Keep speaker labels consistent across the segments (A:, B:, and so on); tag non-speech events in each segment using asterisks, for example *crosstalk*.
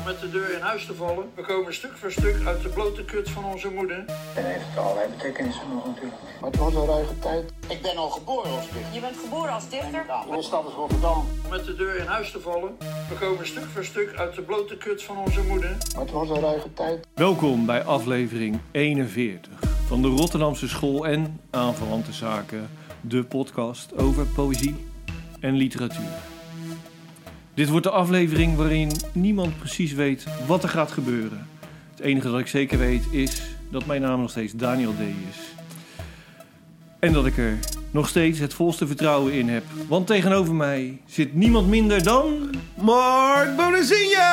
A: om met de deur in huis te vallen. We komen stuk voor stuk uit de blote kut van onze moeder.
B: En heeft allerlei betekenissen nog natuurlijk.
C: Maar het was een ruige tijd.
D: Ik ben al geboren als dichter.
E: Je bent geboren als dichter?
D: Mijn stad is Rotterdam.
A: Om met de deur in huis te vallen. We komen stuk voor stuk uit de blote kut van onze moeder.
C: Maar het was een ruige tijd.
F: Welkom bij aflevering 41 van de Rotterdamse School en aanverwante zaken, de podcast over poëzie en literatuur. Dit wordt de aflevering waarin niemand precies weet wat er gaat gebeuren. Het enige dat ik zeker weet is dat mijn naam nog steeds Daniel D. is. En dat ik er nog steeds het volste vertrouwen in heb. Want tegenover mij zit niemand minder dan...
G: Mark Bonazinha!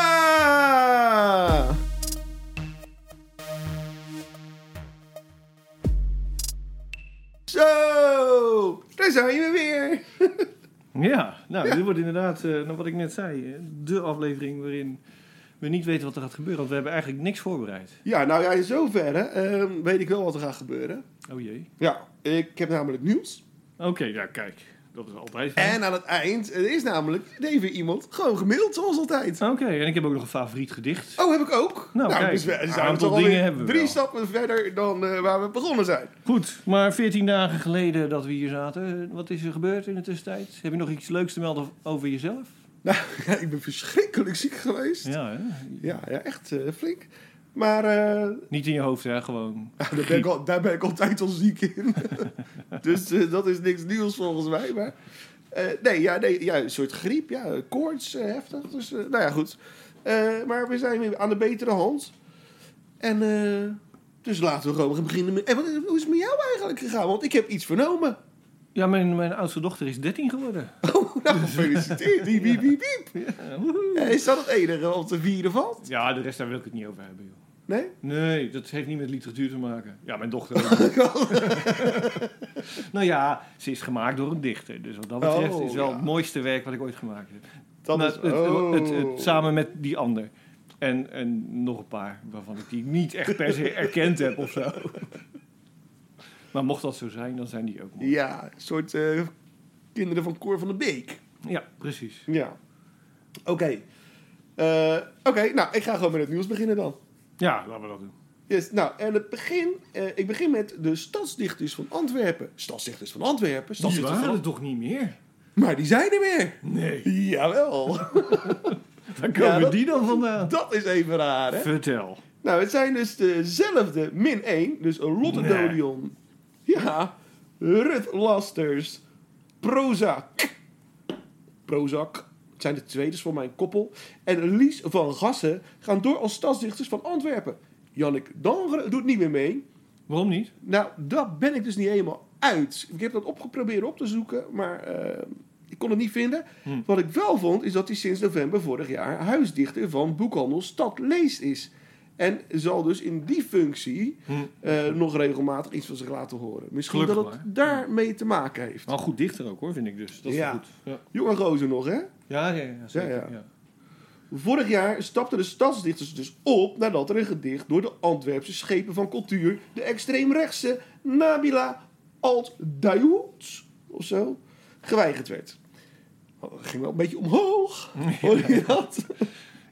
G: Zo, daar zijn we weer.
F: Ja, nou, dit wordt inderdaad, eh, nou, wat ik net zei, eh, de aflevering waarin we niet weten wat er gaat gebeuren. Want we hebben eigenlijk niks voorbereid.
G: Ja, nou ja, in zoverre ehm, weet ik wel wat er gaat gebeuren.
F: Oh jee.
G: Ja, ik heb namelijk nieuws.
F: Oké, ja, kijk. Dat is altijd fijn.
G: En aan het eind er is namelijk even iemand gewoon gemaild, zoals altijd.
F: Oké, en ik heb ook nog een favoriet gedicht.
G: Oh, heb ik ook?
F: Nou, kijk,
G: dus we-
F: een
G: zijn we
F: aantal
G: toch alweer
F: dingen hebben we
G: Drie
F: wel.
G: stappen verder dan eh, waar we begonnen zijn.
F: Goed, maar 14 dagen geleden dat we hier zaten, eh, wat is er gebeurd in de tussentijd? Heb je nog iets leuks te melden over jezelf?
G: Nou, *laughs* ja, ik ben verschrikkelijk ziek geweest.
F: Ja, hè?
G: Ja, ja echt eh, flink. Maar eh,
F: Niet in je hoofd, hè? Gewoon.
G: *laughs* daar, ben ik al, daar ben ik altijd al ziek
F: *laughs*
G: in. dus eh, dat is niks nieuws volgens mij. Maar, eh, nee, ja, nee, ja, een soort griep. Ja, koorts, eh, heftig. Dus, eh, nou ja, goed. Eh, maar we zijn weer aan de betere hand. En eh, dus laten we gewoon gaan beginnen met... En wat, hoe is het met jou eigenlijk gegaan? Want ik heb iets vernomen. *laughs*
F: Ja, mijn, mijn oudste dochter is 13 geworden.
G: Oh,
F: *laughs*
G: nou, gefeliciteerd. Wiep, wiep, wiep, wiep. Eh, is dat het enige wat te vieren valt?
F: Ja, de rest daar wil ik het niet over hebben, joh.
G: Nee?
F: Nee, dat heeft niet met literatuur te maken. Ja, mijn
G: *laughs*
F: dochter ook.
G: Oh.
F: *laughs* nou ja, ze is gemaakt door een dichter. Dus wat dat betreft
G: Oh,
F: is wel
G: ja.
F: het mooiste werk wat ik ooit gemaakt heb.
G: Dat
F: Maar
G: is-
F: Nou, het,
G: oh.
F: het, het, het- samen met die ander. En, en nog een paar waarvan ik die niet echt per
G: *laughs*
F: se erkend heb of zo. Maar mocht dat zo zijn, dan zijn die ook mooi.
G: Ja, een soort eh, kinderen van Cor van de Beek.
F: Ja, precies.
G: Ja. Oké. Eh, Oké, nou, ik ga gewoon met het nieuws beginnen dan.
F: Ja, laten we dat doen.
G: Yes, nou, en het begin, eh, ik begin met de stadsdichters van Antwerpen. Stadsdichters van Antwerpen?
F: Die
G: Stadsdichters
F: waren
G: van
F: er toch niet meer?
G: Maar die zijn er weer! *laughs*
F: Nee.
G: Jawel!
F: Waar komen
G: Ja, dat-
F: die dan vandaan?
G: dat is even raar, hè?
F: Vertel.
G: Nou, het zijn dus dezelfde min 1, dus Lotte
F: Nee.
G: Dodion. Ja, Rut Lasters, Prozac. Prozac het zijn de twee, dus voor mij een koppel. En Lies van Gassen gaan door als stadsdichters van Antwerpen. Jannik Dangere doet niet meer mee.
F: Waarom niet?
G: Nou, dat ben ik dus niet helemaal uit. Ik heb dat opgeprobeerd op te zoeken, maar eh, ik kon het niet vinden.
F: Hm.
G: Wat ik wel vond, is dat hij sinds november vorig jaar huisdichter van boekhandel Stad Leest is. En zal dus in die functie
F: Hm.
G: eh, nog regelmatig iets van zich laten horen. Misschien
F: Gelukkig
G: dat
F: maar.
G: het daarmee te maken heeft.
F: Wel goed dichter ook hoor, vind ik dus. Dat is
G: Ja.
F: goed. Ja,
G: Jonge gozer nog, hè?
F: ja, ja, ja, zeker.
G: Ja, ja.
F: ja.
G: Vorig jaar stapten de stadsdichters dus op nadat er een gedicht door de Antwerpse schepen van cultuur, de extreemrechtse Nabila Alt-Dayoud of zo, geweigerd werd. Oh, dat ging wel een beetje
F: *laughs*
G: omhoog. Hoor je dat?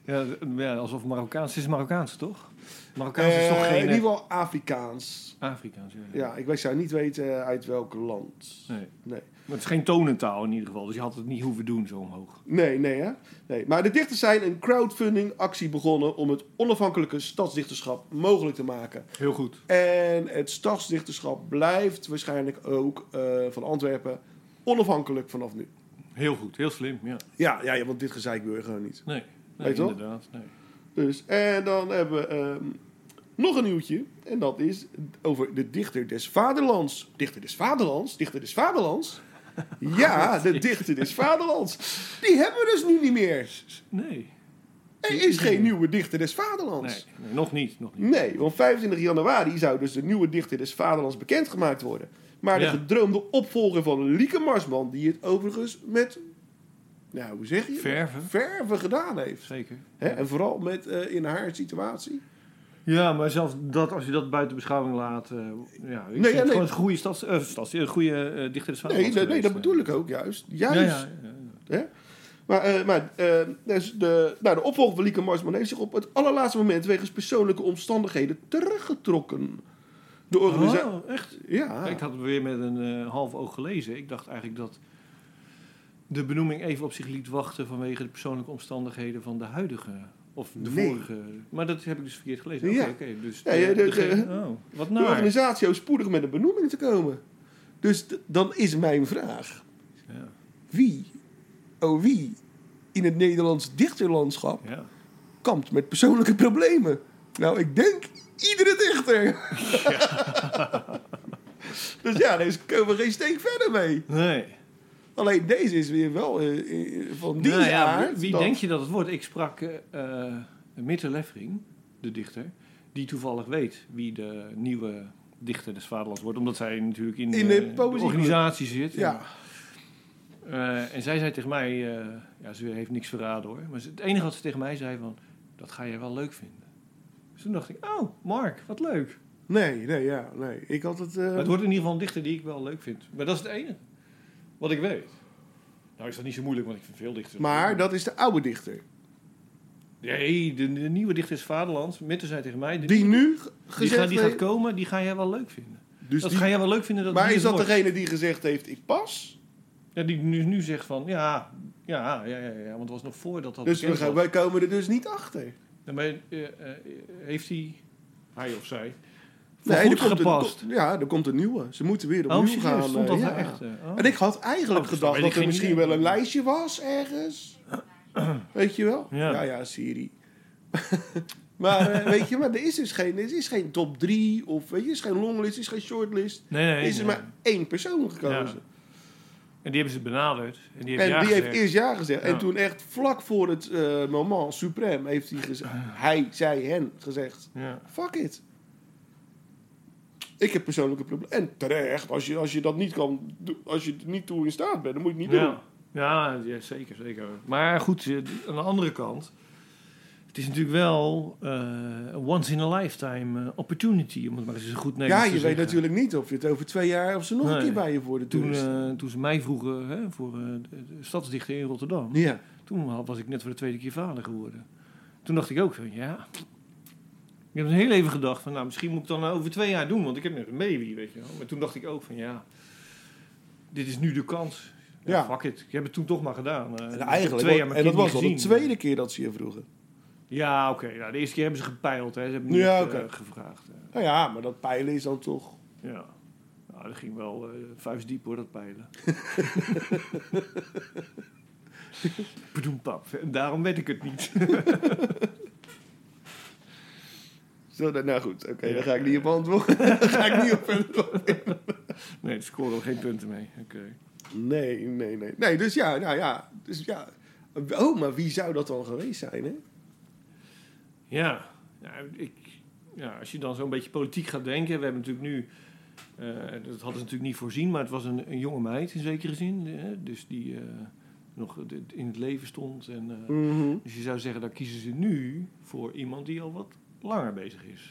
F: Ja, d- ja, alsof Marokkaans het is Marokkaans toch? Marokkaans is toch
G: Eh,
F: geen
G: In ieder geval Afrikaans.
F: Afrikaans? Ja.
G: Ja, ik weet zou niet weten uit welk land.
F: Nee.
G: Nee.
F: Maar het is geen tonentaal in ieder geval, dus je had het niet hoeven doen zo omhoog.
G: Nee, nee, hè? Nee. Maar de dichters zijn een crowdfunding-actie begonnen om het onafhankelijke stadsdichterschap mogelijk te maken.
F: Heel goed.
G: En het stadsdichterschap blijft waarschijnlijk ook eh, van Antwerpen onafhankelijk vanaf nu.
F: Heel goed, heel slim, ja.
G: Ja, ja, ja, want dit gezeik wil je gewoon niet.
F: Nee, nee
G: Weet je wel?
F: inderdaad. Nee.
G: Dus, en dan hebben we ehm, nog een nieuwtje. En dat is over de dichter des vaderlands. Dichter des vaderlands? Dichter des vaderlands? Ja, de dichter des vaderlands. Die hebben we dus nu niet meer.
F: Nee.
G: Er is geen nieuwe dichter des vaderlands.
F: Nee, nee, nog niet, nog niet.
G: Nee, want 25 januari zou dus de nieuwe dichter des Vaderlands bekendgemaakt worden. Maar de
F: Ja.
G: gedroomde opvolger van Lieke Marsman, die het overigens met, nou hoe zeg je? het?
F: Verven.
G: Verven gedaan heeft.
F: Zeker.
G: Hè? En vooral met, eh, in haar situatie.
F: Ja, maar zelfs dat, als je dat buiten beschouwing laat... eh, ja, ik
G: Nee,
F: vind het
G: ja, nee.
F: gewoon een goede, stads, eh, stads, een goede eh, dichter des
G: Nee,
F: Vaderlands
G: nee, nee,
F: geweest,
G: dat
F: eh.
G: bedoel ik ook juist.
F: Ja,
G: Juist.
F: ja, ja, ja.
G: Hè? Maar, eh, maar eh, dus de, nou, de opvolger van Lieke Marsman heeft zich op het allerlaatste moment... wegens persoonlijke omstandigheden teruggetrokken. De organisatie...
F: Oh, echt?
G: Ja.
F: Ik had het weer met een eh, half oog gelezen. Ik dacht eigenlijk dat de benoeming even op zich liet wachten vanwege de persoonlijke omstandigheden van de huidige of de
G: Nee.
F: vorige. Maar dat heb ik dus verkeerd gelezen. Oké,
G: Ja.
F: oké, dus
G: Ja, ja,
F: de-
G: de-
F: degene-
G: de-
F: oh, wat
G: de
F: naar.
G: organisatie ook spoedig met een benoeming te komen. Dus d- dan is mijn vraag:
F: Ja,
G: wie, oh wie, in het Nederlands dichterlandschap
F: ja.
G: kampt met persoonlijke problemen? Nou, ik denk iedere dichter. *laughs* dus ja, daar komen we geen steek verder mee.
F: Nee.
G: Alleen deze is weer wel eh, eh, van die
F: Nou ja,
G: aard.
F: wie
G: dat-
F: denk je dat het wordt? Ik sprak eh eh, Mitte Leffering, de dichter, die toevallig weet wie de nieuwe dichter des Vaderlands wordt, omdat zij natuurlijk in,
G: In
F: eh,
G: de poëzieclub.
F: organisatie zit.
G: Ja,
F: Eh, en zij zei tegen mij, eh, ja, ze heeft niks verraden hoor, maar ze- het enige wat ze tegen mij zei van, dat ga jij wel leuk vinden. Dus toen dacht ik, oh, Mark, wat leuk.
G: nee, nee, ja, nee. Ik had het. eh,
F: Maar het wordt in ieder geval een dichter die ik wel leuk vind. Maar dat is het enige wat ik weet. Nou is dat niet zo moeilijk, want ik vind veel dichters.
G: maar dat is de oude dichter.
F: Nee, de, de nieuwe dichter is Vaderland. Mitten zei tegen mij, de-
G: Die nu g-
F: die,
G: gezegd
F: ga, die gaat
G: heeft-
F: komen, die ga jij wel leuk vinden.
G: Dus
F: dat
G: die-
F: ga jij wel leuk vinden. Dat
G: maar
F: die
G: is
F: het
G: dat
F: wordt.
G: degene die gezegd heeft: ik pas?
F: Ja, die nu, nu zegt van, ja, ja, ja, ja, ja, want het was nog voordat dat
G: Dus we
F: bekend
G: gaan,
F: was.
G: wij komen er dus niet achter.
F: Ja, maar, eh, eh, heeft hij, hij of zij,
G: er
F: goed
G: komt een-
F: gepast?
G: kom- ja, er komt een nieuwe. Ze moeten weer
F: oh,
G: opnieuw
F: serieus,
G: gaan.
F: stond
G: eh,
F: dat
G: ja.
F: er echt? eh, oh.
G: En ik had eigenlijk
F: Oh, dus dan
G: gedacht
F: weet
G: dat
F: ik
G: er
F: geen
G: misschien
F: idee.
G: wel een lijstje
F: *clears throat*
G: was ergens. weet je wel?
F: Ja.
G: ja, Siri. *laughs* maar eh, weet je, maar er is dus geen, er is geen top 3 of weet je, er is geen longlist, er is geen shortlist.
F: nee, nee,
G: Er is er
F: nee.
G: maar één persoon gekozen.
F: En die hebben ze benaderd. En die
G: En
F: hebben
G: die heeft eerst ja gezegd.
F: Ja.
G: En toen echt vlak voor het eh, moment supreme heeft hij gezegd... Hij, zij, hen gezegd...
F: Ja.
G: Fuck it. Ik heb persoonlijke problemen. En terecht, als je, als je dat niet kan, do- als je er niet toe in staat bent, dan moet je het niet doen.
F: Ja, ja, ja, zeker, zeker. Maar goed, eh, aan de andere kant... Het is natuurlijk wel eh, een once in a lifetime eh, opportunity, om het maar eens goed
G: ja,
F: Nederlands
G: je
F: te
G: weet
F: zeggen.
G: natuurlijk niet of je het over twee jaar of ze nog
F: dus Nee.
G: een keer bij je voor de
F: Toen,
G: toer is.
F: eh, toen ze mij vroegen hè, voor eh, de, de stadsdichter in Rotterdam,
G: ja.
F: toen had- was ik net voor de tweede keer vader geworden. Toen dacht ik ook van ja. Ik heb een heel even gedacht van nou misschien moet ik dan over twee jaar doen, want ik heb net een baby, weet je wel. Maar toen dacht ik ook van ja, dit is nu de kans. Ja,
G: Ja.
F: fuck it. Ik heb het toen toch maar gedaan. Eh, ik
G: En,
F: heb
G: eigenlijk,
F: twee jaar mijn
G: en dat
F: kind
G: was
F: niet
G: al de
F: gezien.
G: tweede keer dat ze je vroegen.
F: Ja, oké. Nou, de eerste keer hebben ze gepeild, hè. Ze hebben niet
G: Ja,
F: eh,
G: oké.
F: gevraagd. eh.
G: Nou ja, maar dat peilen is dan toch...
F: ja. Nou, dat ging wel eh vuistdiep hoor, dat
G: *laughs*
F: peilen. Bedoempap. En daarom weet ik het niet.
G: Zo, nou nou goed, oké,
F: Ja.
G: daar ga ik niet op antwoorden. *laughs* daar ga ik niet op verder op.
F: Nee, daar scoren we geen punten mee. Oké.
G: Nee, nee, nee. Nee, dus ja, nou ja. Dus ja. Oh, maar wie zou dat dan geweest zijn, hè?
F: Ja, ja, ik, ja, als je dan zo'n beetje politiek gaat denken. We hebben natuurlijk nu, eh, dat hadden ze natuurlijk niet voorzien, maar het was een, een jonge meid in zekere zin. Hè? Dus die eh, nog d- in het leven stond. En, eh, Dus je zou zeggen, daar kiezen ze nu voor iemand die al wat langer bezig is.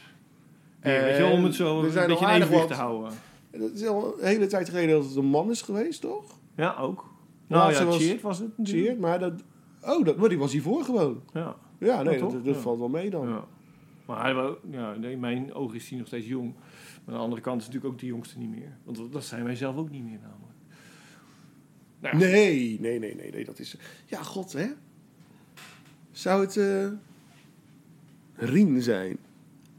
F: Die,
G: En
F: weet je, wel, om het zo
G: Eh, er
F: een
G: zijn
F: beetje
G: nog
F: in
G: aardig
F: evenwicht te
G: wat-
F: houden.
G: Dat is al een hele tijd geleden dat het een man is geweest, toch?
F: Ja, ook. Nou
G: Laatste
F: ja,
G: was-
F: Cheert was het natuurlijk.
G: Zie je? Maar dat... Oh, dat, maar die was hiervoor gewoon.
F: Ja,
G: Ja, nee,
F: Ja, toch?
G: dat, dat
F: Ja.
G: valt wel mee dan.
F: ja. Maar hij wou, ja, nee, in mijn ogen is hij nog steeds jong. Maar aan de andere kant is hij natuurlijk ook de jongste niet meer. Want dat- dat zijn wij zelf ook niet meer namelijk. *laughs* Nou, ja.
G: Nee, nee, nee, nee, nee, dat is... Ja, god, hè? Zou het... eh Rien zijn?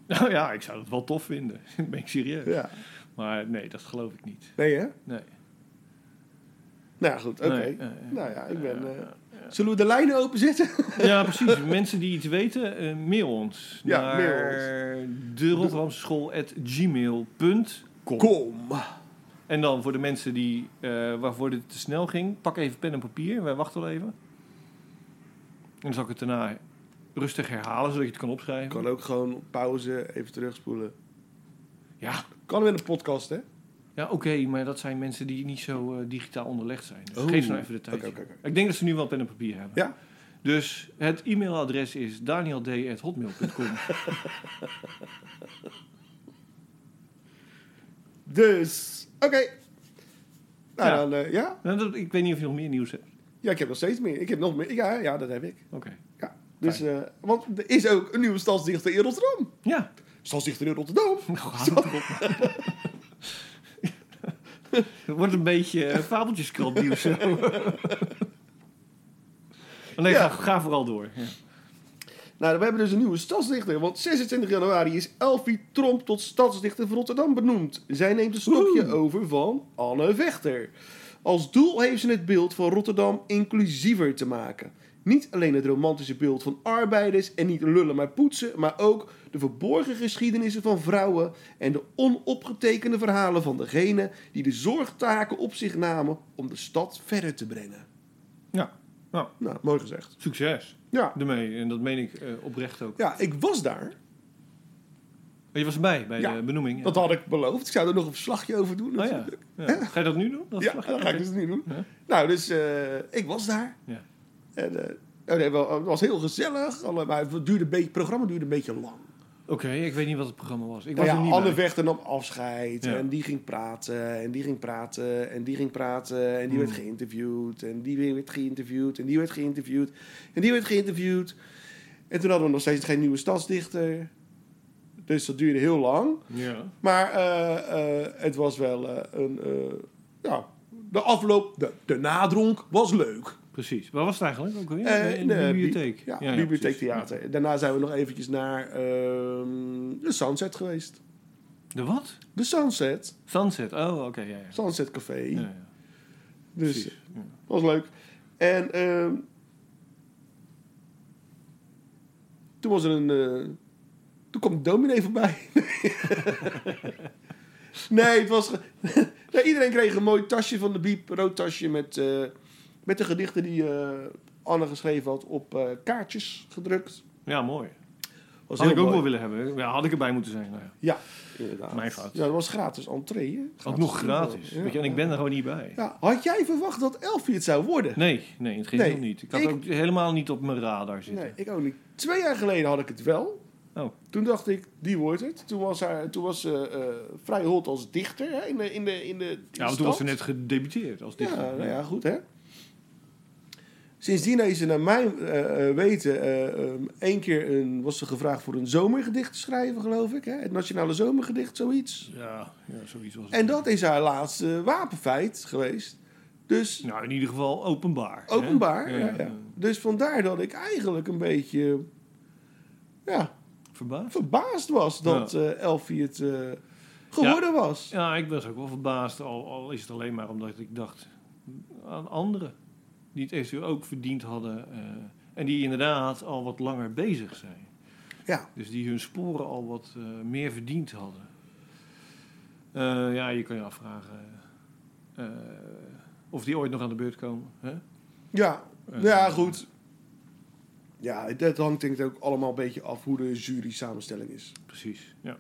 F: Nou ja, ik zou dat wel tof vinden. *laughs* ben ik serieus.
G: Ja.
F: Maar nee, dat geloof ik niet.
G: Nee, hè?
F: Nee.
G: Nou, goed, oké.
F: Nee, nee, nee.
G: Nou ja, ik ben... eh, Zullen we de lijnen openzetten?
F: Ja, precies. *laughs* Mensen die iets weten, eh, mail ons.
G: Ja,
F: naar
G: mail
F: de Rotterdamse school
G: Kom.
F: En dan voor de mensen die, eh, waarvoor dit te snel ging, pak even pen en papier. Wij wachten wel even. En dan zal ik het daarna rustig herhalen, zodat je het kan opschrijven.
G: Kan ook gewoon op pauze even terugspoelen.
F: Ja,
G: Kan in de podcast, hè?
F: ja oké, maar dat zijn mensen die niet zo eh, digitaal onderlegd zijn. Dus
G: Oh.
F: geef ze nou even de tijd.
G: Oké, oké, oké.
F: Ik denk dat ze nu wel pen en papier hebben.
G: Ja.
F: Dus het e-mailadres is
G: *laughs*
F: danield.hotmail.com.
G: Dus, oké. Nou,
F: Ja.
G: dan, eh, ja? Dus,
F: Nou, dat- ik weet niet of je nog meer nieuws hebt.
G: eh, Ja, ik heb nog steeds meer. Ik heb nog meer. Ja, ja dat heb ik.
F: Oké.
G: Ja. Dus, eh, want er is ook een nieuwe stadsdichter in Rotterdam.
F: Ja. *laughs* Nou,
G: Stadsdichter in Rotterdam.
F: Het *laughs* wordt een beetje eh, fabeltjeskrant nieuws. zo. *laughs* nee, ga,
G: Ja.
F: ga vooral door. Ja.
G: Nou, we hebben dus een nieuwe stadsdichter. Want 26 januari is Elfie Tromp tot stadsdichter van Rotterdam benoemd. Zij neemt een stokje over van Anne Vechter. Als doel heeft ze het beeld van Rotterdam inclusiever te maken. Niet alleen het romantische beeld van arbeiders en niet lullen maar poetsen, maar ook de verborgen geschiedenissen van vrouwen en de onopgetekende verhalen van degenen die de zorgtaken op zich namen om de stad verder te brengen.
F: Ja. Nou,
G: Nou, mooi gezegd.
F: succes.
G: Ja,
F: Daarmee. En dat meen ik eh, oprecht ook.
G: ja ik was daar.
F: Je was erbij bij
G: Ja,
F: de benoeming. ja.
G: Dat had ik beloofd. Ik zou er nog een verslagje over doen.
F: Oh, ja.
G: natuurlijk.
F: Ja. Ga je dat nu doen? Dat
G: Ja,
F: slag je?
G: dat ga ik dus nu doen.
F: Ja.
G: Nou, dus eh, ik was daar.
F: Ja.
G: En, eh, oh nee, wel, het was heel gezellig. alle- Maar het, duurde een beetje, het programma duurde een beetje lang.
F: Oké, ik weet niet wat het programma was. Ik was
G: Nou ja,
F: er niet
G: Anne
F: bij.
G: Vechter nam afscheid.
F: Ja.
G: En die ging praten. En die ging praten. En die ging praten. En die
F: Hmm.
G: werd geïnterviewd. En die weer werd geïnterviewd. En die werd geïnterviewd. En die werd geïnterviewd. En toen hadden we nog steeds geen nieuwe stadsdichter. Dus dat duurde heel lang.
F: Ja.
G: Maar eh, eh, het was wel eh, een. eh, ja, de afloop, de, de nadronk was leuk.
F: Precies. Waar was het eigenlijk ook alweer?
G: Eh,
F: in de,
G: bi-
F: bibliotheek.
G: Ja,
F: ja,
G: bibliotheek
F: precies.
G: theater. Daarna zijn we nog eventjes naar ehm, de Sunset geweest.
F: De wat?
G: De Sunset,
F: Sunset. Oh, oké. ja, ja.
G: Sunset Café.
F: Ja, ja.
G: dus
F: precies. Ja.
G: was leuk. En ehm, toen was er een. eh, toen kwam de dominee voorbij. *laughs* nee, het was. ge- *laughs* nee, iedereen kreeg een mooi tasje van de Biep, een rood tasje met, eh, met de gedichten die eh, Anne geschreven had op eh, kaartjes gedrukt.
F: Ja, mooi.
G: Was
F: Had
G: heel
F: ik ook
G: mooi.
F: wel willen hebben. Ja, had ik erbij moeten zijn. Nou, ja.
G: Ja, inderdaad.
F: Mijn fout.
G: Ja, dat was gratis entree. hè?
F: Ook
G: Gratis
F: nog gratis.
G: toegang.
F: Weet je,
G: Ja.
F: en ik ben er gewoon niet bij.
G: Ja, had jij verwacht dat Elfie het zou worden?
F: Nee, nee, het ging
G: Nee,
F: heel niet. Ik had
G: ik-
F: ook helemaal niet op mijn radar zitten.
G: Nee, ik ook niet. Twee jaar geleden had ik het wel.
F: Oh.
G: Toen dacht ik, die wordt het. Toen was, haar, toen was ze eh, vrij hot als dichter hè, in de, in de, in de, in de
F: ja, want
G: stad.
F: toen was ze net gedebuteerd als dichter.
G: Ja, nou ja, goed hè. Sindsdien heeft ze naar mijn eh, eh, weten eh um, één keer een, was ze gevraagd voor een zomergedicht te schrijven, geloof ik. Hè? Het Nationale Zomergedicht, zoiets.
F: ja, ja, zoiets was het.
G: En dat is haar laatste wapenfeit geweest. Dus
F: Nou, in ieder geval openbaar. hè?
G: openbaar.
F: Ja,
G: ja, ja. Dus vandaar dat ik eigenlijk een beetje... Ja,
F: Verbaasd?
G: verbaasd was dat eh, Elfie het eh, geworden was.
F: Ja, ik was ook wel verbaasd. Al, al is het alleen maar omdat ik dacht aan anderen. Die het eventueel ook verdiend hadden. eh, en die inderdaad al wat langer bezig zijn.
G: Ja.
F: Dus die hun sporen al wat eh, meer verdiend hadden. Eh, ja, je kan je afvragen eh, of die ooit nog aan de beurt komen. Hè?
G: Ja,
F: Eh,
G: ja goed. Ja, dat hangt denk ik ook allemaal een beetje af hoe de jury samenstelling is.
F: Precies, ja.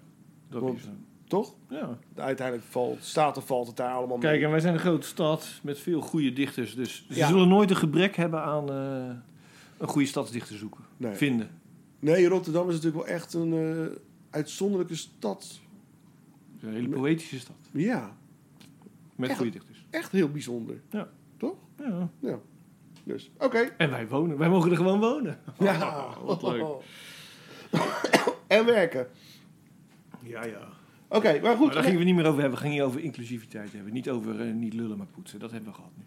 F: Dat
G: Want-
F: is een-
G: Toch?
F: ja.
G: Uiteindelijk valt, staat en valt het daar allemaal
F: Kijk,
G: mee.
F: en wij zijn een grote stad met veel goede dichters. Dus ze
G: Ja.
F: zullen nooit een gebrek hebben aan eh, een goede stadsdichter zoeken.
G: Nee.
F: Vinden.
G: Nee, Rotterdam is natuurlijk wel echt een eh, uitzonderlijke stad.
F: Het is Een hele poëtische stad.
G: Ja,
F: Met
G: Echt?
F: goede dichters.
G: echt heel bijzonder.
F: Ja.
G: Toch?
F: Ja.
G: Ja. Dus, oké.
F: *laughs* En wij wonen. Wij mogen er gewoon wonen.
G: ja.
F: wat leuk.
G: en werken.
F: Ja, ja.
G: Oké, maar goed.
F: Maar daar gingen we niet meer over hebben. We gingen over inclusiviteit hebben. Niet over eh, niet lullen, maar poetsen. Dat hebben we gehad nu.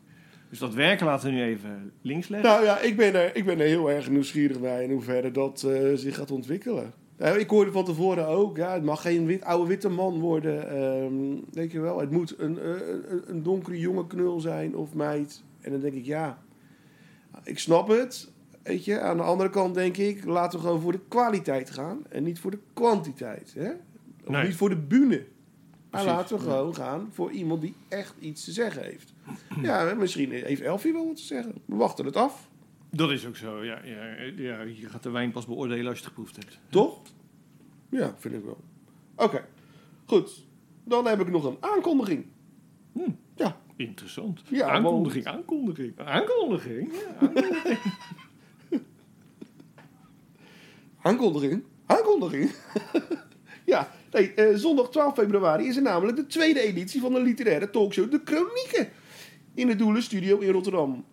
F: Dus dat werken laten we nu even links leggen.
G: Nou ja, ik ben er, ik ben er heel erg nieuwsgierig naar in hoeverre dat eh, zich gaat ontwikkelen. Nou, ik hoorde van tevoren ook, ja, het mag geen wit, oude witte man worden. ehm, weet je wel, het moet een, eh, een, een donkere jonge knul zijn of meid. En dan denk ik, ja, ik snap het. Weet je, aan de andere kant denk ik, laten we gewoon voor de kwaliteit gaan en niet voor de kwantiteit. Hè? Of
F: Nee.
G: niet voor de bühne. Maar
F: Precies,
G: laten we
F: ja.
G: gewoon gaan voor iemand die echt iets te zeggen heeft. Ja, misschien heeft Elfie wel wat te zeggen. We wachten het af.
F: Dat is ook zo. Ja, ja, ja, je gaat de wijn pas beoordelen als je het geproefd hebt.
G: Toch? Ja, vind ik wel. Oké, goed. Dan heb ik nog een aankondiging.
F: Hm.
G: Ja.
F: Interessant.
G: Ja,
F: aankondiging, aankondiging. Aankondiging. Ja, aankondiging.
G: Aankondiging? Aankondiging? *laughs* ja, nee, eh, zondag 12 februari is er namelijk de tweede editie van de literaire talkshow De Kronieken. In de Doelen Studio in Rotterdam.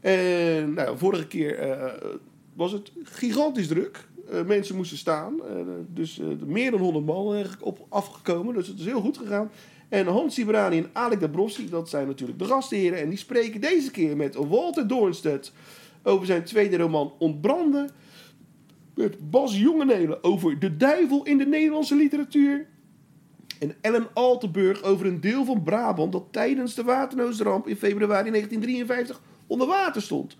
G: En nou, vorige keer eh, was het gigantisch druk. Eh, mensen moesten staan. Eh, dus eh, meer dan 100 man eigenlijk op afgekomen. Dus het is heel goed gegaan. En Hans Sibrani en Alek Dabrowski, dat zijn natuurlijk de gastheren. En die spreken deze keer met Walter Doornstedt over zijn tweede roman Ontbranden. Met Bas Jongenelen over de duivel in de Nederlandse literatuur. En Ellen Altenburg over een deel van Brabant dat tijdens de waternoodramp in februari 1953 onder water stond.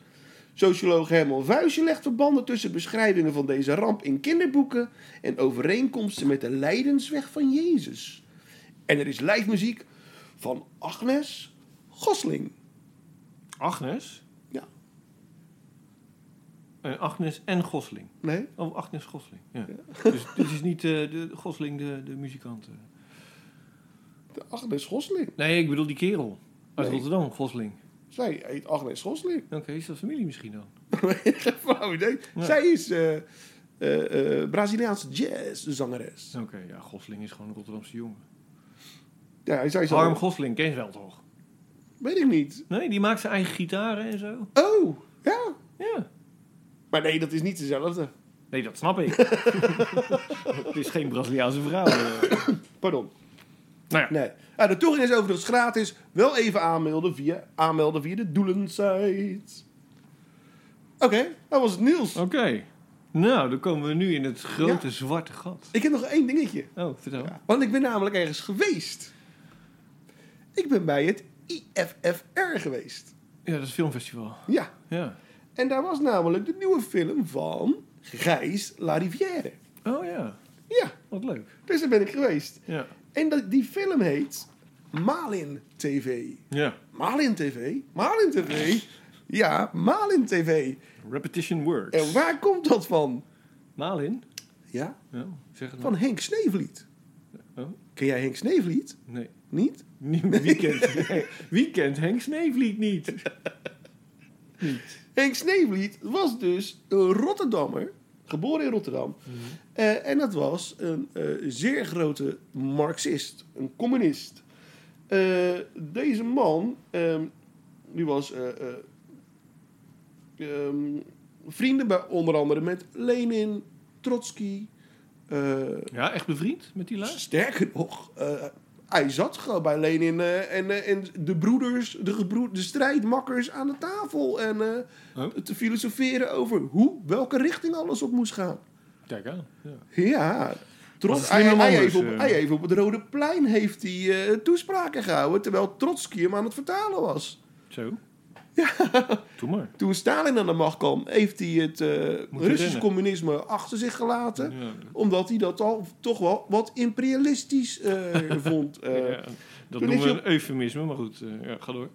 G: Socioloog Herman Vuijsje legt verbanden tussen beschrijvingen van deze ramp in kinderboeken en overeenkomsten met de lijdensweg van Jezus. En er is lijfmuziek van Agnes Gosling.
F: Agnes?
G: Ja.
F: Eh, Agnes en Gosling.
G: Nee?
F: Oh, Agnes Gosling. Ja. *laughs* Dus dit is niet eh, de Gosling, de, de muzikant. eh.
G: De Agnes Gosling.
F: Nee, ik bedoel die kerel. Uit
G: Nee.
F: Rotterdam, Gosling.
G: Zij heet Agnes Gosling.
F: Oké, is dat familie misschien dan?
G: Geen flauw idee.
F: Ja.
G: Zij is eh eh, eh, Braziliaanse jazzzangeres.
F: Oké, ja, Gosling is gewoon een Rotterdamse jongen.
G: Ja, zij is al-
F: Harm Gosling, ken je wel toch?
G: Weet ik niet.
F: Nee, die maakt zijn eigen gitaren en zo.
G: Oh, ja.
F: Ja.
G: Maar nee, dat is niet dezelfde.
F: Nee, dat snap
G: *laughs*
F: ik. Het is geen Braziliaanse vrouw. eh.
G: Pardon.
F: Nou ja.
G: Nee. Ah, de toegang is overigens gratis. Wel even aanmelden via, aanmelden via de doelensite. Oké, dat was het nieuws.
F: Oké. Nou, dan komen we nu in het grote zwarte gat.
G: Ik heb nog één dingetje.
F: Oh, vertel.
G: Want ik ben namelijk ergens geweest. Ik ben bij het IFFR geweest.
F: Ja, dat is filmfestival.
G: Ja.
F: Ja.
G: En daar was namelijk de nieuwe film van Gijs Larivière.
F: Oh ja,
G: Ja,
F: wat leuk.
G: dus daar ben ik geweest.
F: Ja.
G: En dat, die film heet Malin TV.
F: Ja.
G: Malin TV? Malin TV? Ja, Malin TV.
F: Repetition works.
G: En waar komt dat van?
F: Malin?
G: Ja,
F: Ja, zeg het
G: van Henk Sneevliet.
F: Oh.
G: Ken jij Henk Sneevliet?
F: maar. Nee.
G: Niet?
F: Nieuw weekend. *laughs* weekend Henk Sneevliet niet.
G: Henk Sneevliet was dus een Rotterdammer, geboren in Rotterdam. Eh, en dat was een eh, zeer grote marxist, een communist. Eh, deze man, ehm, die was eh, eh, ehm, vrienden bij onder andere met Lenin, Trotsky. eh,
F: Ja, echt bevriend met die lijst?
G: Sterker nog, eh, hij zat gewoon bij Lenin eh, en, eh, en de broeders, de, gebroed, de strijdmakkers aan de tafel. En eh,
F: Oh.
G: te filosoferen over hoe, welke richting alles op moest gaan.
F: Kijk aan. Ja.
G: Ja, trots,
F: Wat
G: hij,
F: slimme man
G: hij
F: dus,
G: heeft op,
F: eh.
G: hij heeft op het Rode Plein heeft hij, eh, toespraken gehouden, terwijl Trotsky hem aan het vertalen was.
F: Zo. Ja. Doe maar.
G: Toen Stalin aan de macht kwam, heeft hij het eh, Russisch
F: rennen.
G: communisme achter zich gelaten.
F: Ja.
G: Omdat hij dat al toch wel wat imperialistisch eh, *laughs* vond. eh.
F: Ja, dat
G: is
F: noemen we
G: je op-
F: een eufemisme, maar goed. eh, ja, ga door.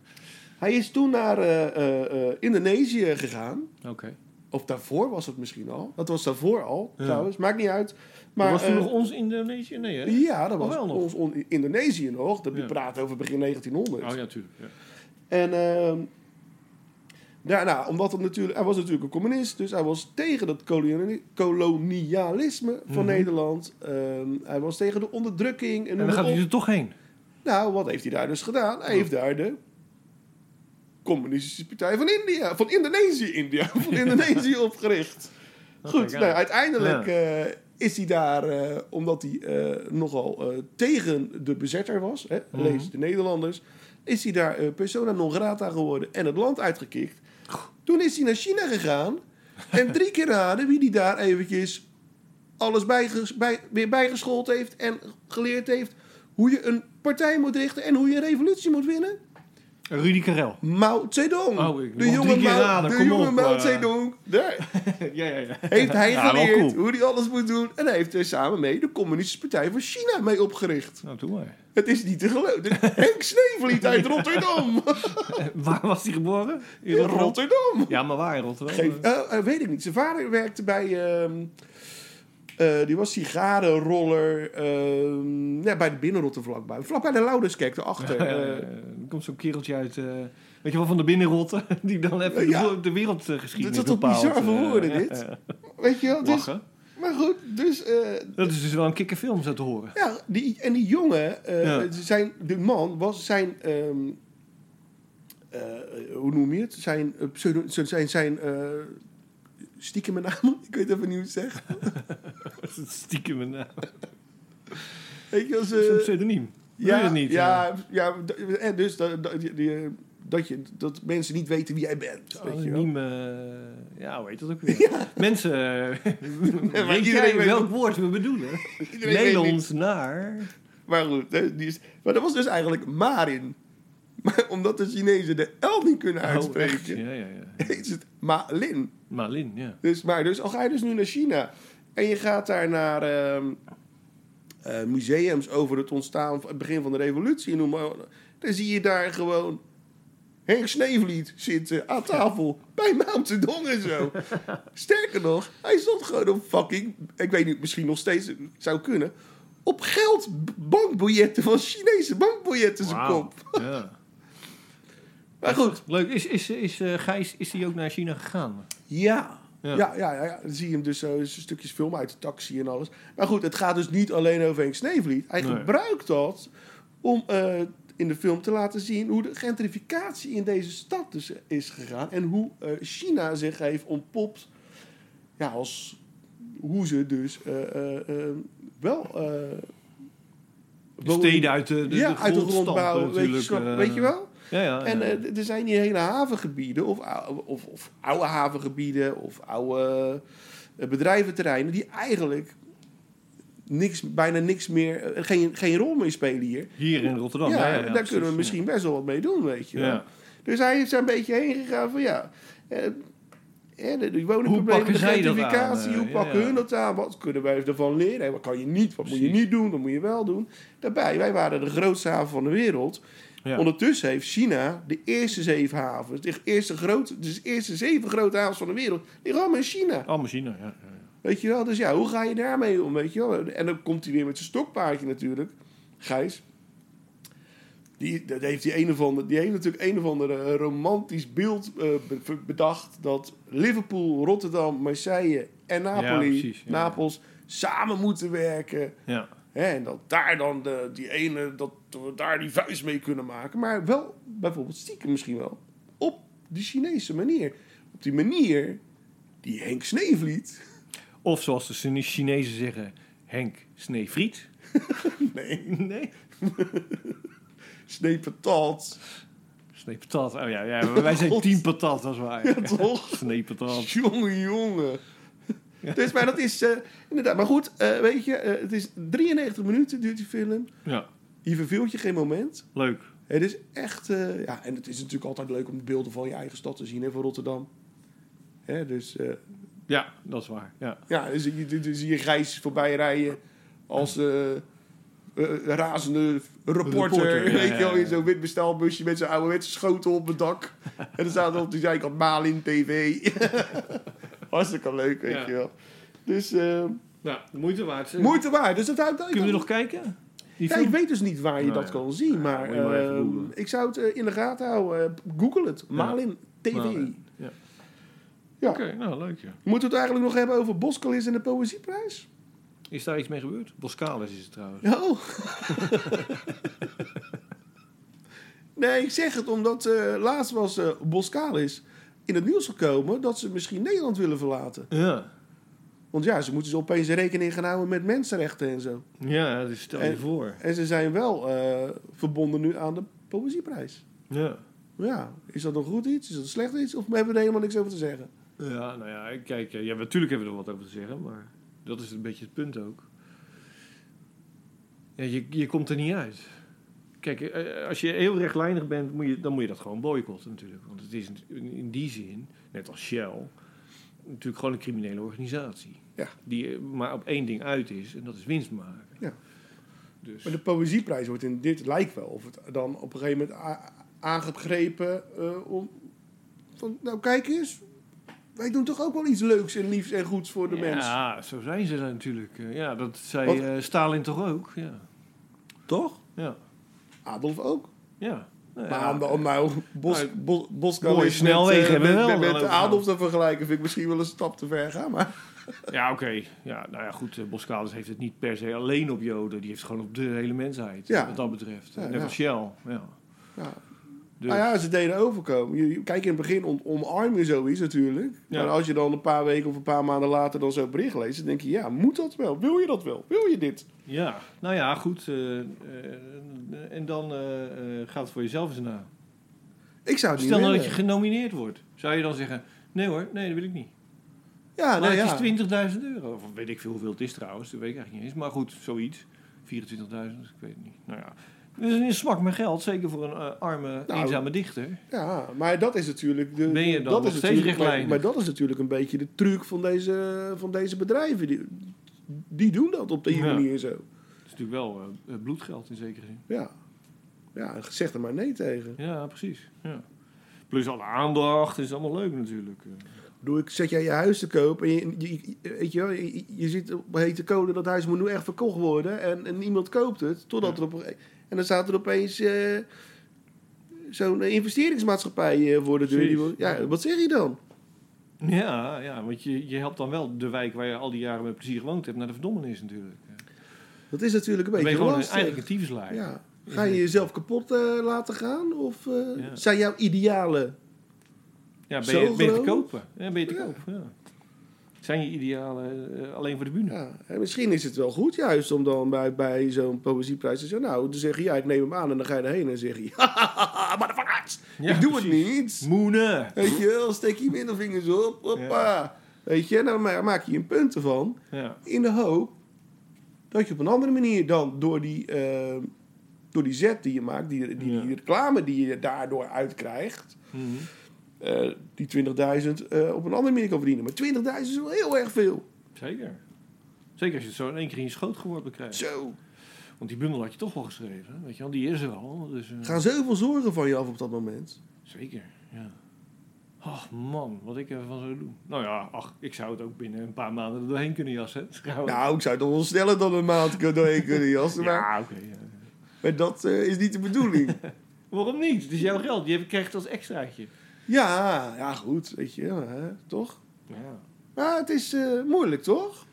G: Hij is toen naar eh, eh, eh, Indonesië gegaan.
F: Oké.
G: Of daarvoor was het misschien al. Dat was daarvoor al,
F: Ja.
G: trouwens. Maakt niet uit. Maar,
F: was toen
G: eh,
F: nog ons Indonesië? Nee, hè?
G: Ja, dat
F: Oh,
G: was
F: wel nog.
G: ons on- Indonesië nog. Dat
F: Ja.
G: praat over begin 1900.
F: Oh ja, tuurlijk. Ja.
G: En ehm daarna, omdat het natuurlijk, hij was natuurlijk een communist, dus hij was tegen dat koloni- kolonialisme van
F: Mhm.
G: Nederland. Ehm, hij was tegen de onderdrukking. En,
F: En dan gaat hij er toch heen.
G: Nou, wat heeft hij daar dus gedaan?
F: Oh.
G: Hij heeft daar de Communistische Partij van India, van Indonesië, India, *laughs* van Indonesië opgericht.
F: *laughs* Dat
G: Goed,
F: kijk aan.
G: nou, uiteindelijk
F: Ja.
G: eh, is hij daar, eh, omdat hij eh, nogal eh, tegen de bezetter was, hè,
F: Mhm.
G: lees de Nederlanders, is hij daar eh, persona non grata geworden en het land uitgekikt. Toen is hij naar China gegaan
F: *laughs*
G: en drie keer raden wie die daar eventjes alles bijges- bij, weer bijgeschoold heeft en geleerd heeft hoe je een partij moet richten en hoe je een revolutie moet winnen.
F: Rudy
G: *laughs*
F: Karel.
G: Mao Zedong.
F: Oh, ik
G: de
F: mag
G: jonge
F: drie keer
G: Mao,
F: raden,
G: de
F: kom
G: jonge
F: op,
G: Mao
F: eh.
G: Zedong. Daar
F: ja, ja, ja.
G: heeft hij
F: Ja, wel
G: geleerd
F: cool.
G: hoe hij alles moet doen. En hij heeft er samen mee de Communistische Partij van China mee opgericht.
F: Nou, doe maar. *laughs*
G: Het is niet te geloven. Dit- Henk Sneevliet uit Rotterdam.
F: Eh, waar was hij geboren?
G: In Rotterdam.
F: Ja, maar waar in Rotterdam?
G: Geef, eh, eh, weet ik niet. Zijn vader werkte bij... ehm, eh, die was sigarenroller ehm, ja, bij de binnenrotte vlakbij. Vlakbij de Lauderskerk, erachter.
F: Eh,
G: Eh
F: er komt zo'n kereltje uit, eh, weet je wel, van de binnenrotten. *laughs* Die dan even de
G: Ja.
F: wo- de wereldgeschiedenis
G: Dit is toch
F: bepaalt.
G: bizar voor
F: eh,
G: woorden,
F: ja,
G: dit?
F: ja.
G: weet je wel? Dus,
F: Lachen.
G: maar goed, dus... eh,
F: Dat is dus wel een kikkerfilm, zo te horen. *laughs*
G: Ja, die, en die jongen, eh,
F: Ja.
G: zijn, de man was zijn ehm, eh, eh, hoe noem je het? Zijn, eh, pseudo, zijn, zijn eh stiekeme namen? *laughs* Ik weet even niet hoe het zegt.
F: Stiekem een naam.
G: Eh, Weet je, wel,
F: Dat is een
G: ze-
F: pseudoniem. Ja, het niet. eh.
G: Ja, ja, d- en dus dat, dat, die- die- dat, je, dat mensen niet weten wie jij
F: Oh,
G: bent. Weet je wel.
F: Anoniem, eh, ja, hoe heet dat ook weer?
G: *laughs*
F: Mensen, eh, weet
G: iedereen
F: jij
G: weet
F: welk
G: het.
F: woord we bedoelen?
G: Iedereen
F: Mail
G: weet niet.
F: ons naar...
G: Maar goed, hè, die is, maar dat was dus eigenlijk Marin. *laughs* Maar omdat de Chinezen de L niet kunnen
F: Oh, echt?
G: uitspreken,
F: ja, ja, ja.
G: *laughs* is het Malin.
F: Malin, ja.
G: Dus, maar dus, al ga je dus nu naar China en je gaat daar naar ehm, eh, museums over het ontstaan, van- het begin van de revolutie, noem maar. Dan zie je daar gewoon Henk Sneevliet zitten aan tafel bij Mao Zedong en zo. Sterker nog, hij stond gewoon op fucking, ik weet niet, misschien nog steeds zou kunnen, op geld bankbiljetten van Chinese bankbiljetten zijn
F: Wauw.
G: kop.
F: Ja.
G: Maar goed,
F: Leuk. Is, is, is eh, Gijs is die ook naar China gegaan?
G: Ja.
F: Ja.
G: Ja. Ja, ja, ja. dan zie je hem dus zo stukjes film uit de taxi en alles. Maar goed, het gaat dus niet alleen over Henk Sneevliet. Hij
F: Nee.
G: gebruikt dat om eh, in de film te laten zien hoe de gentrificatie in deze stad dus is gegaan. En hoe eh, China zich heeft ontpopt ja, als hoe ze dus eh, eh, eh, wel... eh,
F: De steden uit de, de,
G: ja,
F: de
G: uit de
F: grond stampen
G: grondbouw, weet je,
F: natuurlijk,
G: snap-
F: eh.
G: weet je wel?
F: Ja, Oh, ja.
G: En
F: ja.
G: eh, d- er zijn hier hele havengebieden, of, ou- of, of oude havengebieden, of oude eh, bedrijventerreinen, die eigenlijk niks, bijna niks meer, eh, geen, geen rol meer spelen hier.
F: Hier in Rotterdam.
G: ja,
F: Oh, ja, ja,
G: daar
F: precies,
G: kunnen we
F: ja.
G: misschien best wel wat mee doen, weet je wel.
F: Ja.
G: Dus hij is daar een beetje heen gegaan van ja. eh, eh, de de
F: pakken
G: woningproblemen, de
F: zij dat aan,
G: gentrificatie,
F: eh,
G: hoe
F: ja,
G: pakken
F: ja.
G: hun dat aan? Wat kunnen wij ervan leren? En Wat kan je niet? Wat moet je
F: Precies.
G: niet doen? Wat moet je wel doen? Daarbij, wij waren de grootste haven van de wereld.
F: Ja.
G: Ondertussen heeft China de eerste zeven havens, de eerste, grote, dus de eerste zeven grote havens van de wereld, liggen allemaal in China.
F: Allemaal China, ja. ja, ja.
G: Weet je wel? Dus ja, hoe ga je daarmee om? Weet je wel? En dan komt hij weer met zijn stokpaardje natuurlijk, Gijs. Die, dat heeft die, een of andere, die heeft natuurlijk een of ander eh, romantisch beeld eh, be- be- bedacht... dat Liverpool, Rotterdam, Marseille en Napoli,
F: Ja, precies, ja.
G: Napels samen moeten werken...
F: Ja,
G: Hè, en dat daar dan de, die ene, dat we daar die vuist mee kunnen maken. Maar wel, bijvoorbeeld stiekem misschien wel, op de Chinese manier. Op die manier die Henk Sneevliet... *laughs*
F: Of zoals de Chine- Chinezen zeggen, Henk Sneevriet.
G: Nee,
F: Nee.
G: snee patat.
F: Snee patat. Oh ja, ja maar wij zijn
G: *laughs* God.
F: tien patat, dat is waar.
G: Ja, toch?
F: Snee patat.
G: Jongen, jongen. Dus, maar dat is eh, inderdaad. Maar goed, eh, weet je, eh, het is 93 minuten duurt die film.
F: Ja,
G: Je verveelt je geen moment.
F: leuk.
G: Het is echt, eh, ja, en het is natuurlijk altijd leuk om beelden van je eigen stad te zien, hè, van Rotterdam. Hè, dus eh,
F: Ja, dat is waar. Ja.
G: ja, dan zie je, dan zie je Gijs voorbij rijden als eh, eh, razende reporter.
F: Reporter, ja,
G: weet je wel,
F: ja, ja.
G: in zo'n wit bestelbusje met zijn ouderwetse schotel op het dak. en dan staat er op die zijkant Malin TV. *laughs* Hartstikke leuk, weet
F: Ja.
G: je wel. Dus eh,
F: Nou, de moeite waard.
G: moeite waard. Dus dat houdt dat-
F: Kunnen we nog kijken? Die
G: Ja,
F: film?
G: ik weet dus niet waar je
F: Nou
G: dat
F: ja.
G: kan zien, maar,
F: moet je maar even
G: eh,
F: googlen.
G: ik zou het eh, in de gaten houden. Google het. Malin TV.
F: Malin.
G: Ja.
F: Oké, nou leuk ja.
G: Moeten we het eigenlijk nog hebben over Boskalis en de Poëzieprijs?
F: Is daar iets mee gebeurd? Boskalis is het trouwens.
G: Oh. *laughs* nee, ik zeg het omdat eh, laatst was eh Boskalis in het nieuws gekomen dat ze misschien Nederland willen verlaten.
F: Ja.
G: Want ja, ze moeten ze opeens rekening gaan houden met mensenrechten en zo.
F: Ja, dus stel je
G: En-
F: voor.
G: En ze zijn wel eh, verbonden nu aan de Poëzieprijs.
F: Ja.
G: Ja, is dat een goed iets? Is dat een slecht iets? Of hebben we er helemaal niks over te zeggen?
F: Ja, nou ja, kijk, eh, ja, natuurlijk hebben we er wat over te zeggen, maar dat is een beetje het punt ook. Ja, je, je komt er niet uit. Kijk, eh, als je heel rechtlijnig bent, moet je, dan moet je dat gewoon boycotten natuurlijk. Want het is in in die zin, net als Shell, natuurlijk gewoon een criminele organisatie.
G: Ja.
F: Die eh, maar op één ding uit is, en dat is winst maken.
G: Ja.
F: Dus,
G: Maar de Poëzieprijs wordt in dit lijkt wel of het dan op een gegeven moment a- aangegrepen eh, om. Van, nou, kijk eens, wij doen toch ook wel iets leuks en liefs en goeds voor de mens.
F: ja, zo zijn ze daar natuurlijk. Eh, Ja, dat zei
G: Want-
F: eh, Stalin toch ook? Ja,
G: Toch?
F: ja,
G: Adolf ook.
F: ja. Nou ja,
G: maar om, om nou Bos,
F: Nou,
G: Bos, Boska
F: mooie
G: met, eh,
F: snelwegen hebben we
G: met,
F: wel
G: met,
F: dan
G: met
F: ook
G: Adolf te vergelijken, vind ik misschien wel een stap te ver gaan. Maar
F: Ja, oké. Ja, nou ja, goed. eh, Boskalis heeft het niet per se alleen op Joden. Die heeft het gewoon op de hele mensheid.
G: Ja.
F: Wat dat betreft.
G: Ja,
F: Net
G: ja.
F: als Shell. Ja.
G: ja,
F: Dus,
G: Nou ja, ze deden overkomen. Je- je- Kijk, in het begin on- omarm je zoiets natuurlijk.
F: Ja.
G: Maar als je dan een paar weken of een paar maanden later dan zo'n bericht leest... dan denk je, ja, moet dat wel? Wil je dat wel? Wil je dit?
F: ja. nou ja, goed. eh, eh, en dan eh, eh, gaat het voor jezelf eens na.
G: Ik zou
F: Stel
G: het niet
F: nou
G: willen.
F: dat je genomineerd wordt. Zou je dan zeggen, nee hoor, nee, dat wil ik niet.
G: Ja, nou
F: maar
G: ja.
F: het is 20.000 euro. Of weet ik veel hoeveel het is trouwens. Dat weet ik eigenlijk niet eens. Maar goed, zoiets. 24.000, ik weet het niet. Nou ja. Dat is een smak met geld. Zeker voor een eh, arme,
G: Nou,
F: eenzame dichter.
G: Ja, maar dat is natuurlijk... De,
F: Ben je dan
G: dat
F: nog
G: is
F: steeds
G: natuurlijk- maar-
F: richtlijnig?
G: Maar, dat is natuurlijk een beetje de truc van deze, van deze bedrijven. Die, die doen dat op die
F: Ja.
G: manier zo.
F: Dat is natuurlijk wel eh, eh, bloedgeld in zekere zin.
G: Ja. Ja, zeg er maar nee tegen.
F: Ja, precies. Ja. Plus alle aandacht. is allemaal leuk natuurlijk. Eh,
G: Doe ik, zet jij je huis te koop en je, je- je- weet je, wel, je, je ziet op hete code dat huis moet nu echt verkocht worden en, en niemand koopt het. Totdat
F: Ja.
G: er op, een- en dan staat er opeens eh, zo'n investeringsmaatschappij eh, voor de deur. Die wil-
F: Precies.
G: ja, wat zeg je dan?
F: Ja, ja, want je, je helpt dan wel de wijk waar je al die jaren met plezier gewoond hebt naar de verdommenis natuurlijk. Eh,
G: Dat is natuurlijk een
F: Dan ben je
G: beetje
F: gewoon een-
G: lastig.
F: eigenlijk een tyfuslaaier.
G: Ja. Ga je jezelf kapot eh, laten gaan? Of eh,
F: Ja.
G: zijn jouw idealen?
F: Ja, ben
G: Zo
F: je, ben je te
G: groot?
F: kopen. Ja, ben je te
G: Ja.
F: koop, ja. Zijn je idealen eh, alleen voor de bühne?
G: Ja. En misschien is het wel goed juist om dan bij, bij zo'n poëzieprijs te zeggen... Nou, te zeggen, ja, ik neem hem aan. En dan ga je erheen en zeg je... *laughs* Hahaha, motherfuckers!
F: Ja,
G: ik doe
F: precies.
G: het niet!
F: Moene!
G: Weet je wel, steek je middelvingers op. Hoppa! Weet je, nou, maar maak je een punt ervan.
F: Ja,
G: In de hoop dat je op een andere manier dan door die... eh, door die zet die je maakt, die, die,
F: Ja.
G: die reclame die je daardoor uitkrijgt...
F: mhm.
G: eh, die 20.000 eh, op een andere manier kan verdienen. Maar 20.000 is wel heel erg veel.
F: zeker. Zeker als je het zo in één keer in je schoot geworpen krijgt.
G: Zo.
F: Want die bundel had je toch wel geschreven, weet je wel. Die is er al, dus... eh,
G: Er gaan zoveel zorgen van je af op dat moment.
F: Zeker, ja. Ach man, wat ik ervan zou doen. Nou ja, ach, ik zou het ook binnen een paar maanden er doorheen kunnen jassen. *laughs* trouwens.
G: Nou, ik zou toch wel sneller dan een maand kun- doorheen
F: *laughs*
G: kunnen jassen. Maar,
F: ja, oké. ja.
G: maar dat eh, is niet de bedoeling.
F: Waarom niet? Het is jouw geld. Je krijgt het als extraatje.
G: ja, ja, goed. Weet je, hè, toch?
F: Ja,
G: Maar het is eh, moeilijk, toch?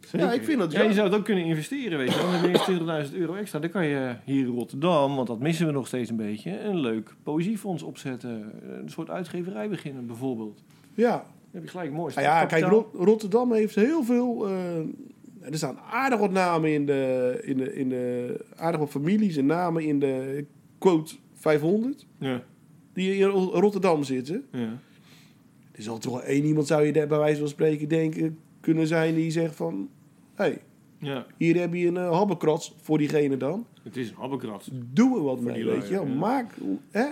F: zeker.
G: Ja, ik vind dat
F: Ja, je
G: jammer.
F: zou het ook kunnen investeren, weet je. wel. Dan heb je 20.000 euro extra. Dan kan je hier in Rotterdam, want dat missen we nog steeds een beetje... een leuk poëziefonds opzetten. Een soort uitgeverij beginnen, bijvoorbeeld.
G: Ja.
F: Dan heb je gelijk mooi
G: Nou ja, kijk,
F: startkapitaal.
G: Rot- Rotterdam heeft heel veel... eh, er staan aardig wat namen in de, in de, in de... Aardig wat families en namen in de quote 500.
F: Ja,
G: die in Ro- Rotterdam zitten.
F: ja.
G: Er zal toch wel één iemand, zou je daar bij wijze van spreken denken, kunnen zijn die zegt van... Hé, hey,
F: ja.
G: hier heb je een eh, habbekrats voor diegene dan.
F: Het is een habbekrat.
G: Doe er wat
F: Voor
G: mee,
F: die
G: weet je wel.
F: lui, ja.
G: Maak... Hè?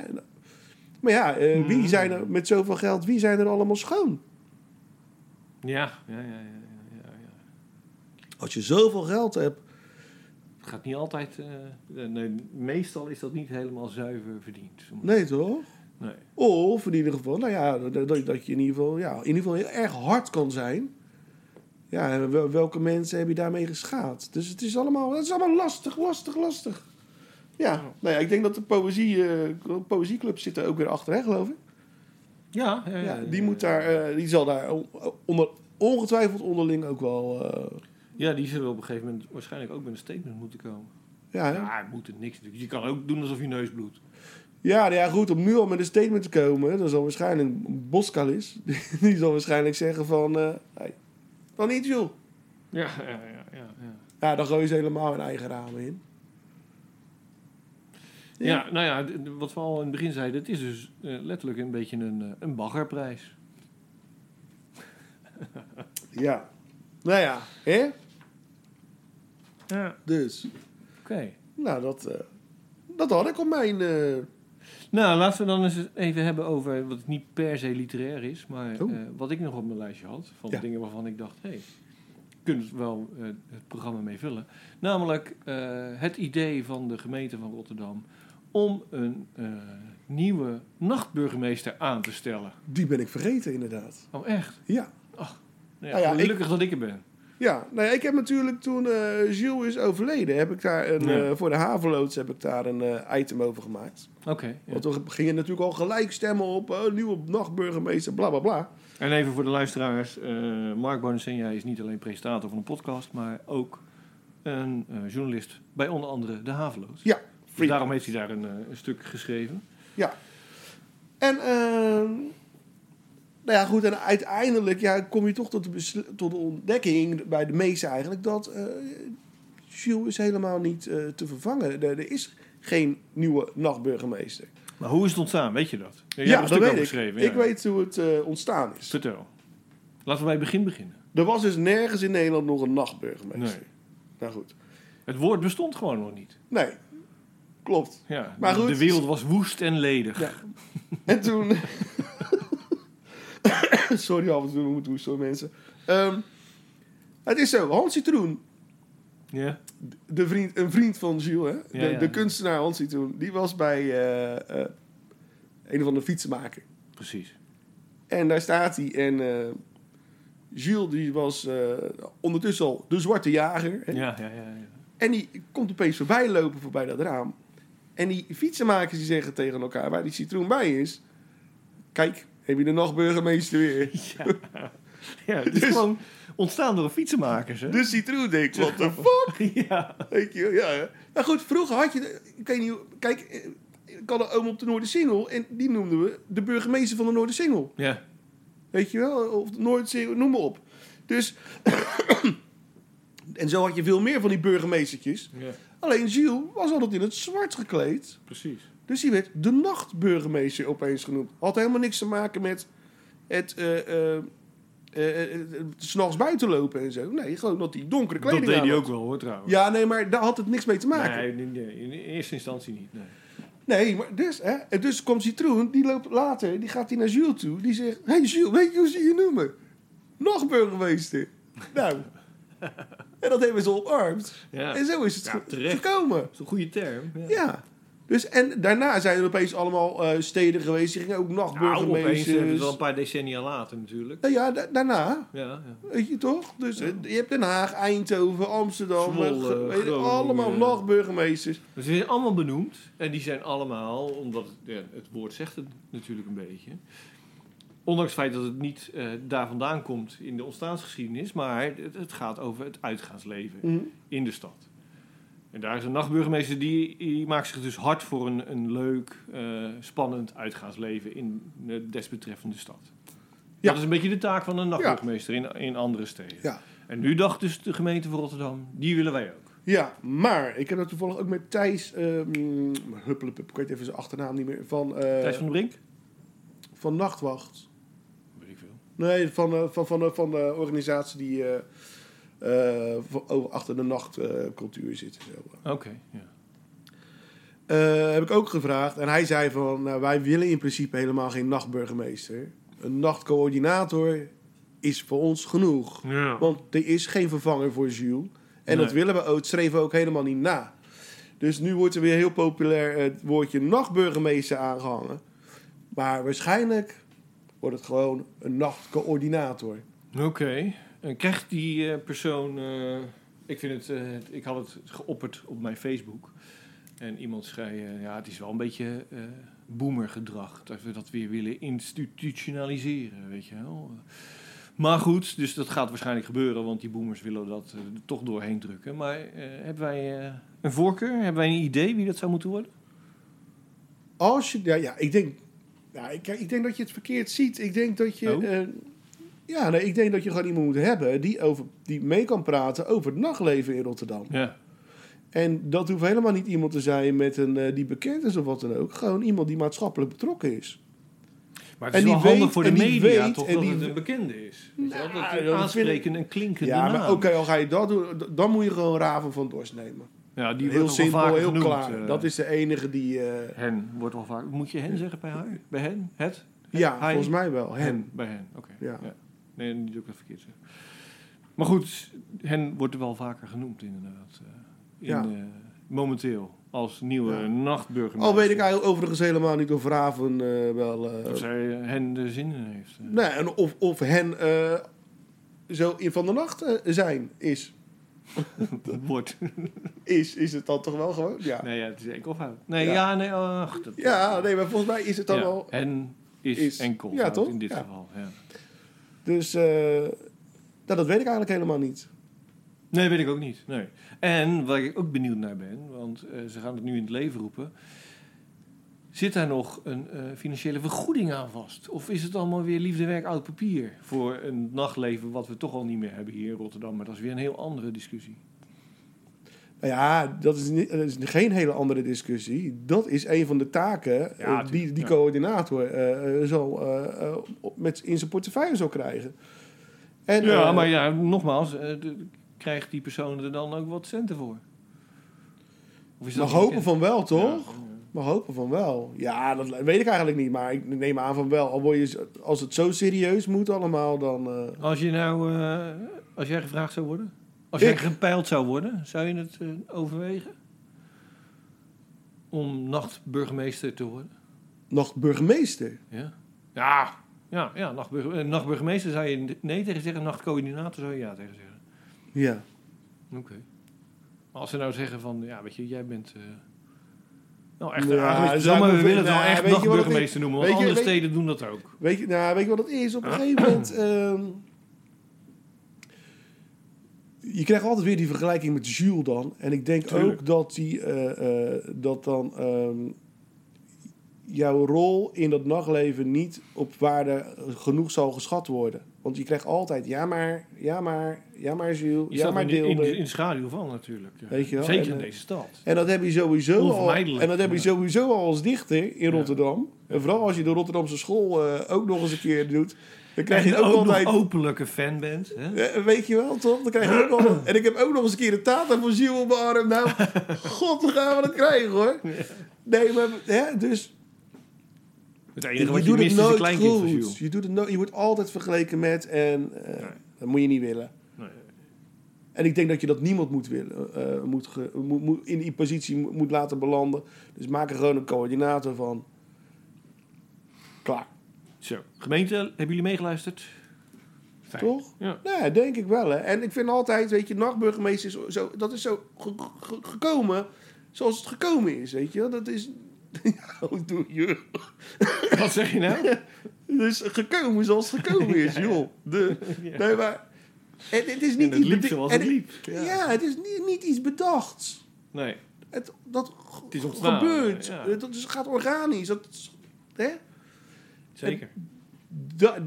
G: Maar ja, eh, wie zijn er met zoveel geld, wie zijn er allemaal schoon?
F: Ja, ja, ja, ja, ja, ja, ja.
G: Als je zoveel geld hebt...
F: Het gaat niet altijd... eh, eh, nee, meestal is dat niet helemaal zuiver verdiend.
G: Nee, toch?
F: Nee.
G: Of in ieder geval, nou ja, dat, dat- dat je in ieder geval, ja, in ieder geval heel erg hard kan zijn. Ja, en wel- welke mensen heb je daarmee geschaad? Dus het is allemaal, het is allemaal lastig, lastig, lastig. Ja, nou ja, ik denk dat de poëzie, eh, poëzieclub zit er ook weer achter, hè, geloof ik.
F: Ja, ja,
G: Ja,
F: ja,
G: die,
F: ja,
G: moet
F: ja.
G: daar, eh, die zal daar on- onder, ongetwijfeld onderling ook wel... eh,
F: Ja, die zullen op een gegeven moment waarschijnlijk ook met een statement moeten komen.
G: ja, hè?
F: Ja, het moet het niks natuurlijk. Je kan ook doen alsof je neus bloedt.
G: Ja, nou ja, goed, om nu al met een statement te komen, dan zal waarschijnlijk Boskalis, *laughs* die zal waarschijnlijk zeggen van, eh, hey, dan niet joh.
F: Ja, ja, ja. ja, ja.
G: Ja, Nou, dan gooien ze helemaal hun eigen ramen in. Ja.
F: Ja, nou ja, d- d- wat we al in het begin zeiden, het is dus eh, letterlijk een beetje een, eh, een baggerprijs.
G: Ja. Nou ja, hè?
F: Ja.
G: Dus.
F: Oké.
G: Nou, dat, eh, dat had ik op mijn... eh,
F: Nou, laten we dan eens even hebben over wat niet per se literair is, maar
G: Oh.
F: eh, wat ik nog op mijn lijstje had. Van
G: Ja.
F: dingen waarvan ik dacht, hé, hey, kunnen we wel eh, het programma mee vullen. Namelijk eh, het idee van de gemeente van Rotterdam om een eh, nieuwe nachtburgemeester aan te stellen.
G: die ben ik vergeten, inderdaad.
F: Oh, echt?
G: Ja.
F: Nou ja,
G: Nou ja, ik-
F: gelukkig dat ik er ben.
G: Ja, nou ja, ik heb natuurlijk toen eh Gilles is overleden, heb ik daar een,
F: Ja.
G: eh, voor de Haveloods heb ik daar een eh, item over gemaakt.
F: Oké. ja.
G: Want we gingen natuurlijk al gelijk stemmen op eh, nieuwe nachtburgemeester, bla bla bla.
F: En even voor de luisteraars. eh Mark Bonacenja is niet alleen presentator van een podcast, maar ook een eh, journalist bij onder andere De Haveloos.
G: Ja,
F: Dus
G: free.
F: daarom heeft hij daar een, eh, een stuk geschreven.
G: Ja. En, ehm, nou ja, goed. En uiteindelijk ja, kom je toch tot de, besl- tot de ontdekking bij de meesten eigenlijk dat eh Jules is helemaal niet eh, te vervangen. Er, er is geen nieuwe nachtburgemeester.
F: Maar hoe is het ontstaan? Weet je dat? Jij
G: ja,
F: hebt er een stuk
G: dat weet
F: over
G: ik.
F: geschreven.
G: Ik
F: ja.
G: weet hoe het eh, ontstaan is.
F: Vertel. Laten we bij het begin beginnen.
G: Er was dus nergens in Nederland nog een nachtburgemeester.
F: Nee.
G: Nou goed.
F: Het woord bestond gewoon nog niet.
G: Nee, klopt.
F: Ja,
G: Maar
F: de-
G: goed.
F: De wereld was woest en ledig.
G: Ja. *laughs* En toen... *coughs* Sorry, af en toe moet hoesten hoor, mensen. Ehm, het is zo, Hansi Troen,
F: Ja?
G: de vriend, een vriend van Jules, hè?
F: Ja,
G: de,
F: ja,
G: de
F: ja.
G: kunstenaar Hansi Troen, die was bij eh, eh, een van de fietsenmaker.
F: Precies.
G: En daar staat hij. En eh, Jules die was eh, ondertussen al de zwarte jager. hè.
F: Ja, ja, ja. ja.
G: En die komt opeens voorbij lopen voorbij dat raam. En die fietsenmakers die zeggen tegen elkaar waar die citroen bij is. Kijk, heb je de nachtburgemeester weer.
F: Ja, het is
G: Dus-
F: gewoon ontstaan door fietsenmakers, hè?
G: De citroen denkt, what the fuck?
F: *laughs* Ja.
G: Weet je, wel, ja. hè. Nou goed, vroeger had je, de- ik weet niet, hoe- kijk, eh, ik had een oom op de Noordersingel. En die noemden we de burgemeester van de Noordersingel.
F: Ja.
G: Weet je wel? Of Noordzee, noem maar op. Dus. *coughs* en zo had je veel meer van die burgemeestertjes.
F: Ja,
G: Alleen Gilles was altijd in het zwart gekleed.
F: precies.
G: Dus die werd de nachtburgemeester opeens genoemd. Had helemaal niks te maken met het. eh eh, eh, eh, s'nachts buiten lopen en zo. Nee, gewoon dat die donkere
F: Dat
G: kleding
F: deed
G: aan
F: hij
G: had.
F: ook wel, hoor, trouwens.
G: Ja, nee, maar daar had het niks mee te maken.
F: Nee, nee, nee, in eerste instantie niet. Nee.
G: Nee, maar dus, hè, en dus komt Citroen, die loopt later, die gaat die naar Jules toe. Die zegt, hé hey Jules, weet je hoe ze je noemen? Nog burgemeester. Nou,
F: *laughs*
G: en dat hebben ze omarmd.
F: Ja.
G: En zo is het
F: Ja,
G: ge-
F: terecht.
G: gekomen.
F: Dat is een goede term.
G: Ja. Dus, en daarna zijn er opeens allemaal eh, steden geweest. Die gingen ook
F: Nou, opeens hebben we
G: nachtburgemeesters.
F: het al een paar decennia later natuurlijk.
G: nou ja, da- daarna.
F: Ja, ja.
G: Weet je toch? Dus eh, je hebt Den Haag, Eindhoven, Amsterdam.
F: Zwolle,
G: eh, ge- weet je,
F: Groningen.
G: allemaal nachtburgemeesters.
F: Dus die zijn allemaal benoemd. En die zijn allemaal, omdat ja, het woord zegt het natuurlijk een beetje. Ondanks het feit dat het niet eh, daar vandaan komt in de ontstaansgeschiedenis. Maar het, het gaat over het uitgaansleven
G: Mhm.
F: in de stad. En daar is een nachtburgemeester die, die maakt zich dus hard voor een, een leuk, eh, spannend uitgaansleven in de desbetreffende stad.
G: Ja.
F: Dat is een beetje de taak van een nachtburgemeester in, in andere steden.
G: Ja.
F: En nu dacht dus de gemeente van Rotterdam, die willen wij ook.
G: Ja, maar ik heb dat toevallig ook met Thijs ehm Huppelepup, ik weet even zijn achternaam niet meer, van, eh,
F: Thijs van den Brink?
G: van Nachtwacht.
F: Weet ik veel.
G: Nee, van, eh, van, van, eh, van de organisatie die eh, eh, voor- over achter de nachtcultuur eh, cultuur zit. en zo.
F: Oké, ja.
G: Eh, heb ik ook gevraagd en hij zei van, nou, wij willen in principe helemaal geen nachtburgemeester. Een nachtcoördinator is voor ons genoeg.
F: Ja.
G: Want er is geen vervanger voor Jules. En dat
F: Nee.
G: willen we ook, schreven we ook helemaal niet na. Dus nu wordt er weer heel populair het woordje nachtburgemeester aangehangen. Maar waarschijnlijk wordt het gewoon een nachtcoördinator.
F: Oké. En krijgt die eh, persoon... eh, ik, vind het, eh, ik had het geopperd op mijn Facebook. En iemand zei... eh, ja, het is wel een beetje eh boomergedrag. Dat we dat weer willen institutionaliseren, weet je wel. Maar goed, dus dat gaat waarschijnlijk gebeuren. Want die boomers willen dat eh, er toch doorheen drukken. Maar eh, hebben wij eh, een voorkeur? Hebben wij een idee wie dat zou moeten worden?
G: Als je, ja, ja, ik denk, ja, ik, ik denk dat je het verkeerd ziet. Ik denk dat je,
F: Oh.
G: eh, ja, nee, ik denk dat je gewoon iemand moet hebben die, over, die mee kan praten over het nachtleven in Rotterdam.
F: Ja.
G: En dat hoeft helemaal niet iemand te zijn met een, eh, die bekend is of wat dan ook. Gewoon iemand die maatschappelijk betrokken is.
F: Maar het
G: En
F: is wel
G: die
F: handig
G: weet-
F: voor de
G: en die
F: media
G: weet-
F: toch
G: en
F: dat
G: die
F: het
G: we-
F: een bekende is. Weet je wel, dat
G: Nou,
F: het
G: dat vind
F: aansprekende en klinkende
G: Ja, maar
F: naam.
G: oké, al ga je dat doen, d- dan moet je gewoon Raven van Dorst nemen.
F: Ja, die
G: heel
F: wordt wel
G: simpel,
F: vaker
G: heel
F: genoemd,
G: klaar.
F: eh.
G: dat is de enige die. eh,
F: Hen wordt wel vaak. Moet je hen zeggen bij haar? Bij hen? Het?
G: ja,
F: hij-
G: volgens mij wel. Hen.
F: Bij hen, oké.
G: Ja.
F: Ja. Nee, niet ook dat verkeerd zeg. Maar goed, hen wordt er wel vaker genoemd inderdaad. eh, in,
G: Ja.
F: eh, momenteel als nieuwe
G: Ja.
F: nachtburgemeester.
G: Al weet ik eigenlijk overigens helemaal niet of Raven eh, wel. eh,
F: Of zij eh, hen de zin in heeft. eh.
G: nee, en of, of hen eh, zo in van de nacht eh, zijn is.
F: Dat *laughs* wordt.
G: Is, is het dan toch wel gewoon? Ja.
F: Nee, ja, het is enkel fout. Nee,
G: Ja.
F: ja, nee, ach. Dat,
G: Ja, nee, maar volgens mij is het dan
F: Ja,
G: wel.
F: Hen is,
G: is-
F: enkel
G: ja,
F: fout
G: toch?
F: in dit
G: Ja.
F: geval. Ja.
G: Dus eh, nou, dat weet ik eigenlijk helemaal niet.
F: Nee, weet ik ook niet. Nee. En waar ik ook benieuwd naar ben, want eh, ze gaan het nu in het leven roepen. Zit daar nog een eh, financiële vergoeding aan vast? Of is het allemaal weer liefdewerk oud papier voor een nachtleven wat we toch al niet meer hebben hier in Rotterdam? Maar dat is weer een heel andere discussie.
G: Nou ja, dat is, niet, dat is geen hele andere discussie. Dat is een van de taken eh,
F: tuurlijk,
G: die die
F: ja.
G: coördinator eh, eh, zo, eh, eh, op- met, in zijn portefeuille zou krijgen. En,
F: ja,
G: eh,
F: maar ja, nogmaals, eh, de- krijgt die persoon er dan ook wat centen voor? Of is
G: we
F: niet
G: hopen
F: bekend?
G: van wel, toch?
F: Ja.
G: We hopen van wel. Ja, dat weet ik eigenlijk niet, maar ik neem aan van wel. Al word je, z- als het zo serieus moet allemaal, dan... eh,
F: Als je nou, eh, als jij gevraagd zou worden, als jij
G: Ik?
F: gepeild zou worden, zou je het eh, overwegen? Om nachtburgemeester te worden?
G: nog burgemeester.
F: Ja. Ja, ja, ja nachtburg- eh, nachtburgemeester zou je nee tegen zeggen, nachtcoördinator zou je ja tegen zeggen.
G: Ja.
F: Oké. Maar als ze nou zeggen van, ja, weet je, jij bent. eh, nou, echt.
G: Ja,
F: Ja,
G: zou
F: maar
G: ik
F: we
G: me-
F: willen het wel
G: nou,
F: echt
G: weet je wat het
F: nachtburgemeester noemen, want
G: Weet je-
F: andere
G: weet-
F: steden doen dat ook.
G: Weet je, nou, weet je wat het is? Op
F: *clears throat*
G: een gegeven moment... ehm, je krijgt altijd weer die vergelijking met Jules dan. En ik denk
F: Tuurlijk.
G: ook dat die... eh, eh, dat dan... ehm, jouw rol in dat nachtleven niet op waarde genoeg zal geschat worden. Want je krijgt altijd... Ja maar, ja maar, ja maar Jules,
F: Je
G: ja
F: staat
G: maar
F: in, de- in,
G: Deelder.
F: de- in de schaduw van natuurlijk. ja.
G: Weet je wel,
F: Zeker
G: en,
F: in
G: eh,
F: deze stad.
G: En dat heb je sowieso al,
F: Onvermijdelijk,
G: en dat heb je
F: ja.
G: sowieso al als dichter in
F: Ja.
G: Rotterdam. En vooral als je de Rotterdamse school eh, ook nog eens een keer doet. Dan krijg je
F: en
G: ook
F: ook nog
G: altijd...
F: openlijke fan bent. Hè?
G: Eh, Weet je wel, toch? Dan krijg je
F: *clears throat*
G: ook al... En ik heb ook nog eens een keer een tata van ziel op mijn
F: *laughs*
G: arm. Nou, god, dan gaan we dat krijgen, hoor. Nee, maar... Hè, dus
F: Het
G: je,
F: enige
G: je
F: wat je,
G: doet
F: mist
G: het
F: is een
G: nooit
F: kleinkind van
G: goed.
F: Jules.
G: Je, doet het no- je wordt altijd vergeleken met... En eh,
F: Nee.
G: dat moet je niet willen.
F: Nee.
G: En ik denk dat je dat niemand moet willen, eh, moet ge- moet, moet- in die positie moet, moet laten belanden. Dus maak er gewoon een coördinator van. Klaar,
F: Zo. Gemeente, hebben jullie meegeluisterd? Fijn.
G: toch?
F: Ja. *laughs*
G: Nou, ja, denk ik wel. Hè. En ik vind altijd, weet je, nachtburgemeester, is zo, dat is zo ge- ge- gekomen zoals het gekomen is, weet je. wel. Dat is... *laughs* Hoe doe je?
F: Wat zeg je nou?
G: Dus gekomen zoals
F: *laughs*
G: het gekomen is, joh. De, Nee, maar... Het, het is niet
F: het
G: iets
F: liep
G: bedi-
F: zoals
G: en
F: het liep.
G: Ja. het is niet, niet iets bedachts.
F: Nee.
G: Het, dat
F: Het is ontstaan,
G: gebeurt.
F: ja.
G: Het, dat is- gaat organisch. Dat, is- hè?
F: Zeker.
G: Da-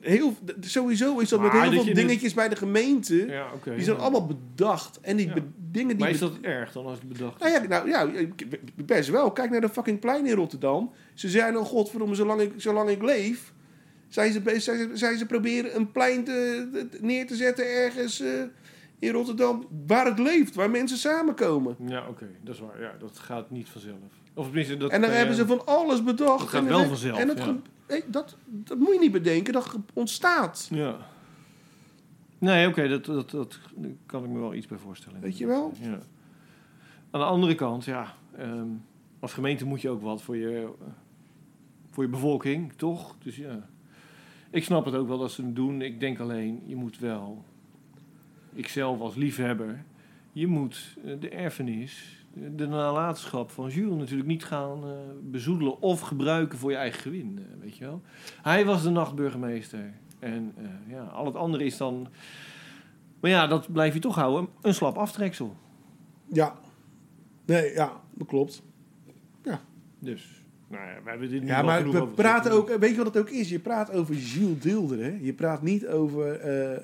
G: heel, d- sowieso is dat
F: Maar
G: met heel
F: dat
G: veel
F: je dit-
G: dingetjes bij de gemeente.
F: Ja, oké.
G: die zijn allemaal bedacht. En die
F: Ja.
G: be- dingen die...
F: Maar is
G: be-
F: dat erg dan als het bedacht
G: nou
F: is?
G: ja, nou, ja, best wel. Kijk naar de fucking plein in Rotterdam. Ze zijn al, godverdomme, zolang ik, zolang ik leef... Zijn ze, bezig- zijn, ze, zijn ze proberen een plein te, te- neer te zetten ergens eh, in Rotterdam... waar het leeft, waar mensen samenkomen.
F: Ja, oké. Dat is waar. Ja, dat gaat niet vanzelf. Of tenminste, dat...
G: en dan
F: eh,
G: hebben ze van alles bedacht.
F: dat gaat
G: En
F: wel
G: het-
F: vanzelf,
G: En het
F: ja.
G: ge- hé, dat, dat moet je niet bedenken, dat ge- ontstaat.
F: Ja. Nee, oké, dat, dat, dat daar kan ik me wel iets bij voorstellen.
G: Weet je wel?
F: Ja. Aan de andere kant, ja, ehm, als gemeente moet je ook wat voor je, voor je bevolking, toch? Dus ja, ik snap het ook wel dat ze het doen. Ik denk alleen, je moet wel, ikzelf als liefhebber, je moet eh, de erfenis, de nalatenschap van Jules natuurlijk niet gaan eh, bezoedelen of gebruiken voor je eigen gewin, eh, weet je wel? Hij was de nachtburgemeester. En eh, ja, al het andere is dan. Maar ja, dat blijf je toch houden. Een slap aftreksel.
G: Ja. Nee, ja, dat klopt.
F: Dus. Nou ja, we hebben dit nu
G: Ja,
F: wel
G: maar
F: genoeg
G: we
F: over
G: praten
F: gezegd.
G: ook... Weet je wat het ook is? Je praat over Gilles Deelder, hè? Je praat niet over eh,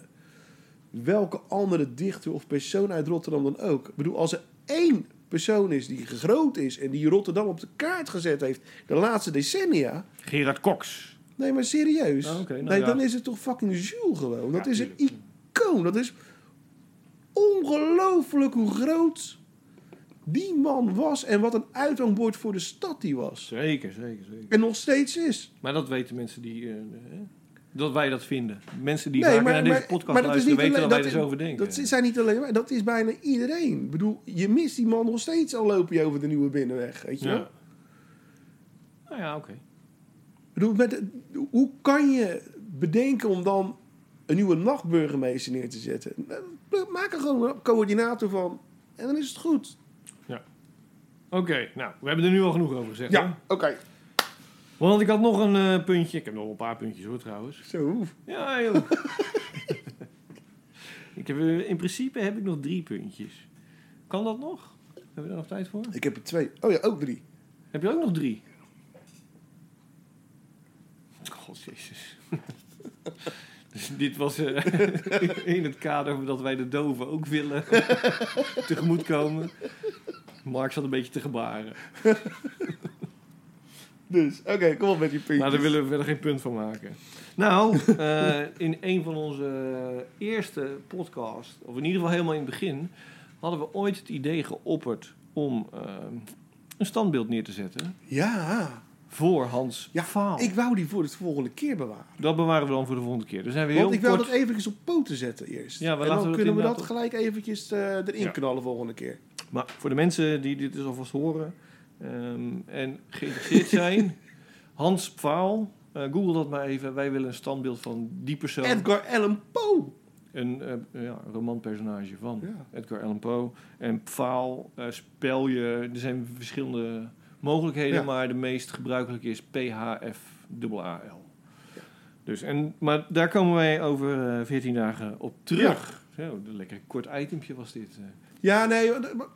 G: welke andere dichter of persoon uit Rotterdam dan ook. Ik bedoel, als er één persoon is die groot is... en die Rotterdam op de kaart gezet heeft de laatste decennia...
F: Gerard Cox.
G: Nee, maar serieus.
F: Ah, oké, nou
G: nee,
F: ja.
G: dan is het toch fucking Jules gewoon. Dat
F: Ja,
G: is een
F: tuurlijk.
G: icoon. Dat is ongelooflijk hoe groot die man was en wat een uithangbord voor de stad die was.
F: Zeker, zeker, zeker.
G: En nog steeds is.
F: Maar dat weten mensen die. eh, hè, dat wij dat vinden. Mensen die
G: Nee,
F: vaker
G: maar-
F: naar deze
G: maar-
F: podcast
G: maar dat is
F: luisteren
G: niet
F: weten dat,
G: alleen-
F: wij
G: dat
F: er zo over denken.
G: Dat zijn niet alleen maar, dat is bijna iedereen. Ik bedoel, je mist die man nog steeds al loop je over de nieuwe binnenweg. Weet je wel?
F: ja. Nou ja, oké.
G: Ik bedoel, met, hoe kan je bedenken om dan een nieuwe nachtburgemeester neer te zetten? Nou, Maak er gewoon een coördinator van en dan is het goed.
F: Oké, nou, we hebben er nu al genoeg over gezegd.
G: Ja.
F: hoor.
G: Oké.
F: Want ik had nog een eh, puntje. Ik heb nog wel een paar puntjes hoor trouwens.
G: Zo.
F: Ja, joh.
G: *laughs*
F: ik heb, eh, in principe heb ik nog drie puntjes. Kan dat nog? Hebben we daar nog tijd voor?
G: Ik heb er twee. Oh ja, ook drie.
F: Heb je ook nog drie?
G: god, jezus.
F: *laughs* Dus dit was eh, *laughs* in het kader dat wij de doven ook willen *laughs* tegemoetkomen. Mark zat een beetje te gebaren.
H: Dus, oké, kom op met die puntjes.
F: Maar daar willen we verder geen punt van maken. Nou, eh, in een van onze eerste podcasts, of in ieder geval helemaal in het begin, hadden we ooit het idee geopperd om eh, een standbeeld neer te zetten
G: Ja,
F: voor Hans
G: Ja,
F: Vaal.
G: ik wou die voor de volgende keer bewaren.
F: Dat bewaren we dan voor de volgende keer. Dus zijn we heel
G: Want ik wil
F: kort...
G: dat eventjes op poten zetten eerst.
F: Ja, we
G: en
F: laten
G: dan
F: dat
G: kunnen we
F: inderdaad
G: dat gelijk eventjes eh, erin
F: Ja.
G: knallen volgende keer.
F: Maar voor de mensen die dit dus alvast horen ehm, en geïnteresseerd
G: *laughs*
F: zijn, Hans Vaal, eh, google dat maar even. Wij willen een standbeeld van die persoon.
G: Edgar Allan Poe.
F: een eh, ja, romanpersonage van
G: Ja.
F: Edgar Allan Poe. En Pfaal eh, spel je... Er zijn verschillende mogelijkheden,
G: Ja.
F: maar de meest gebruikelijke is PHFAAL. Dus, en, maar daar komen wij over eh, 14 dagen op terug. Zo, een lekker kort itempje was dit. eh.
G: Ja, nee, maar- maar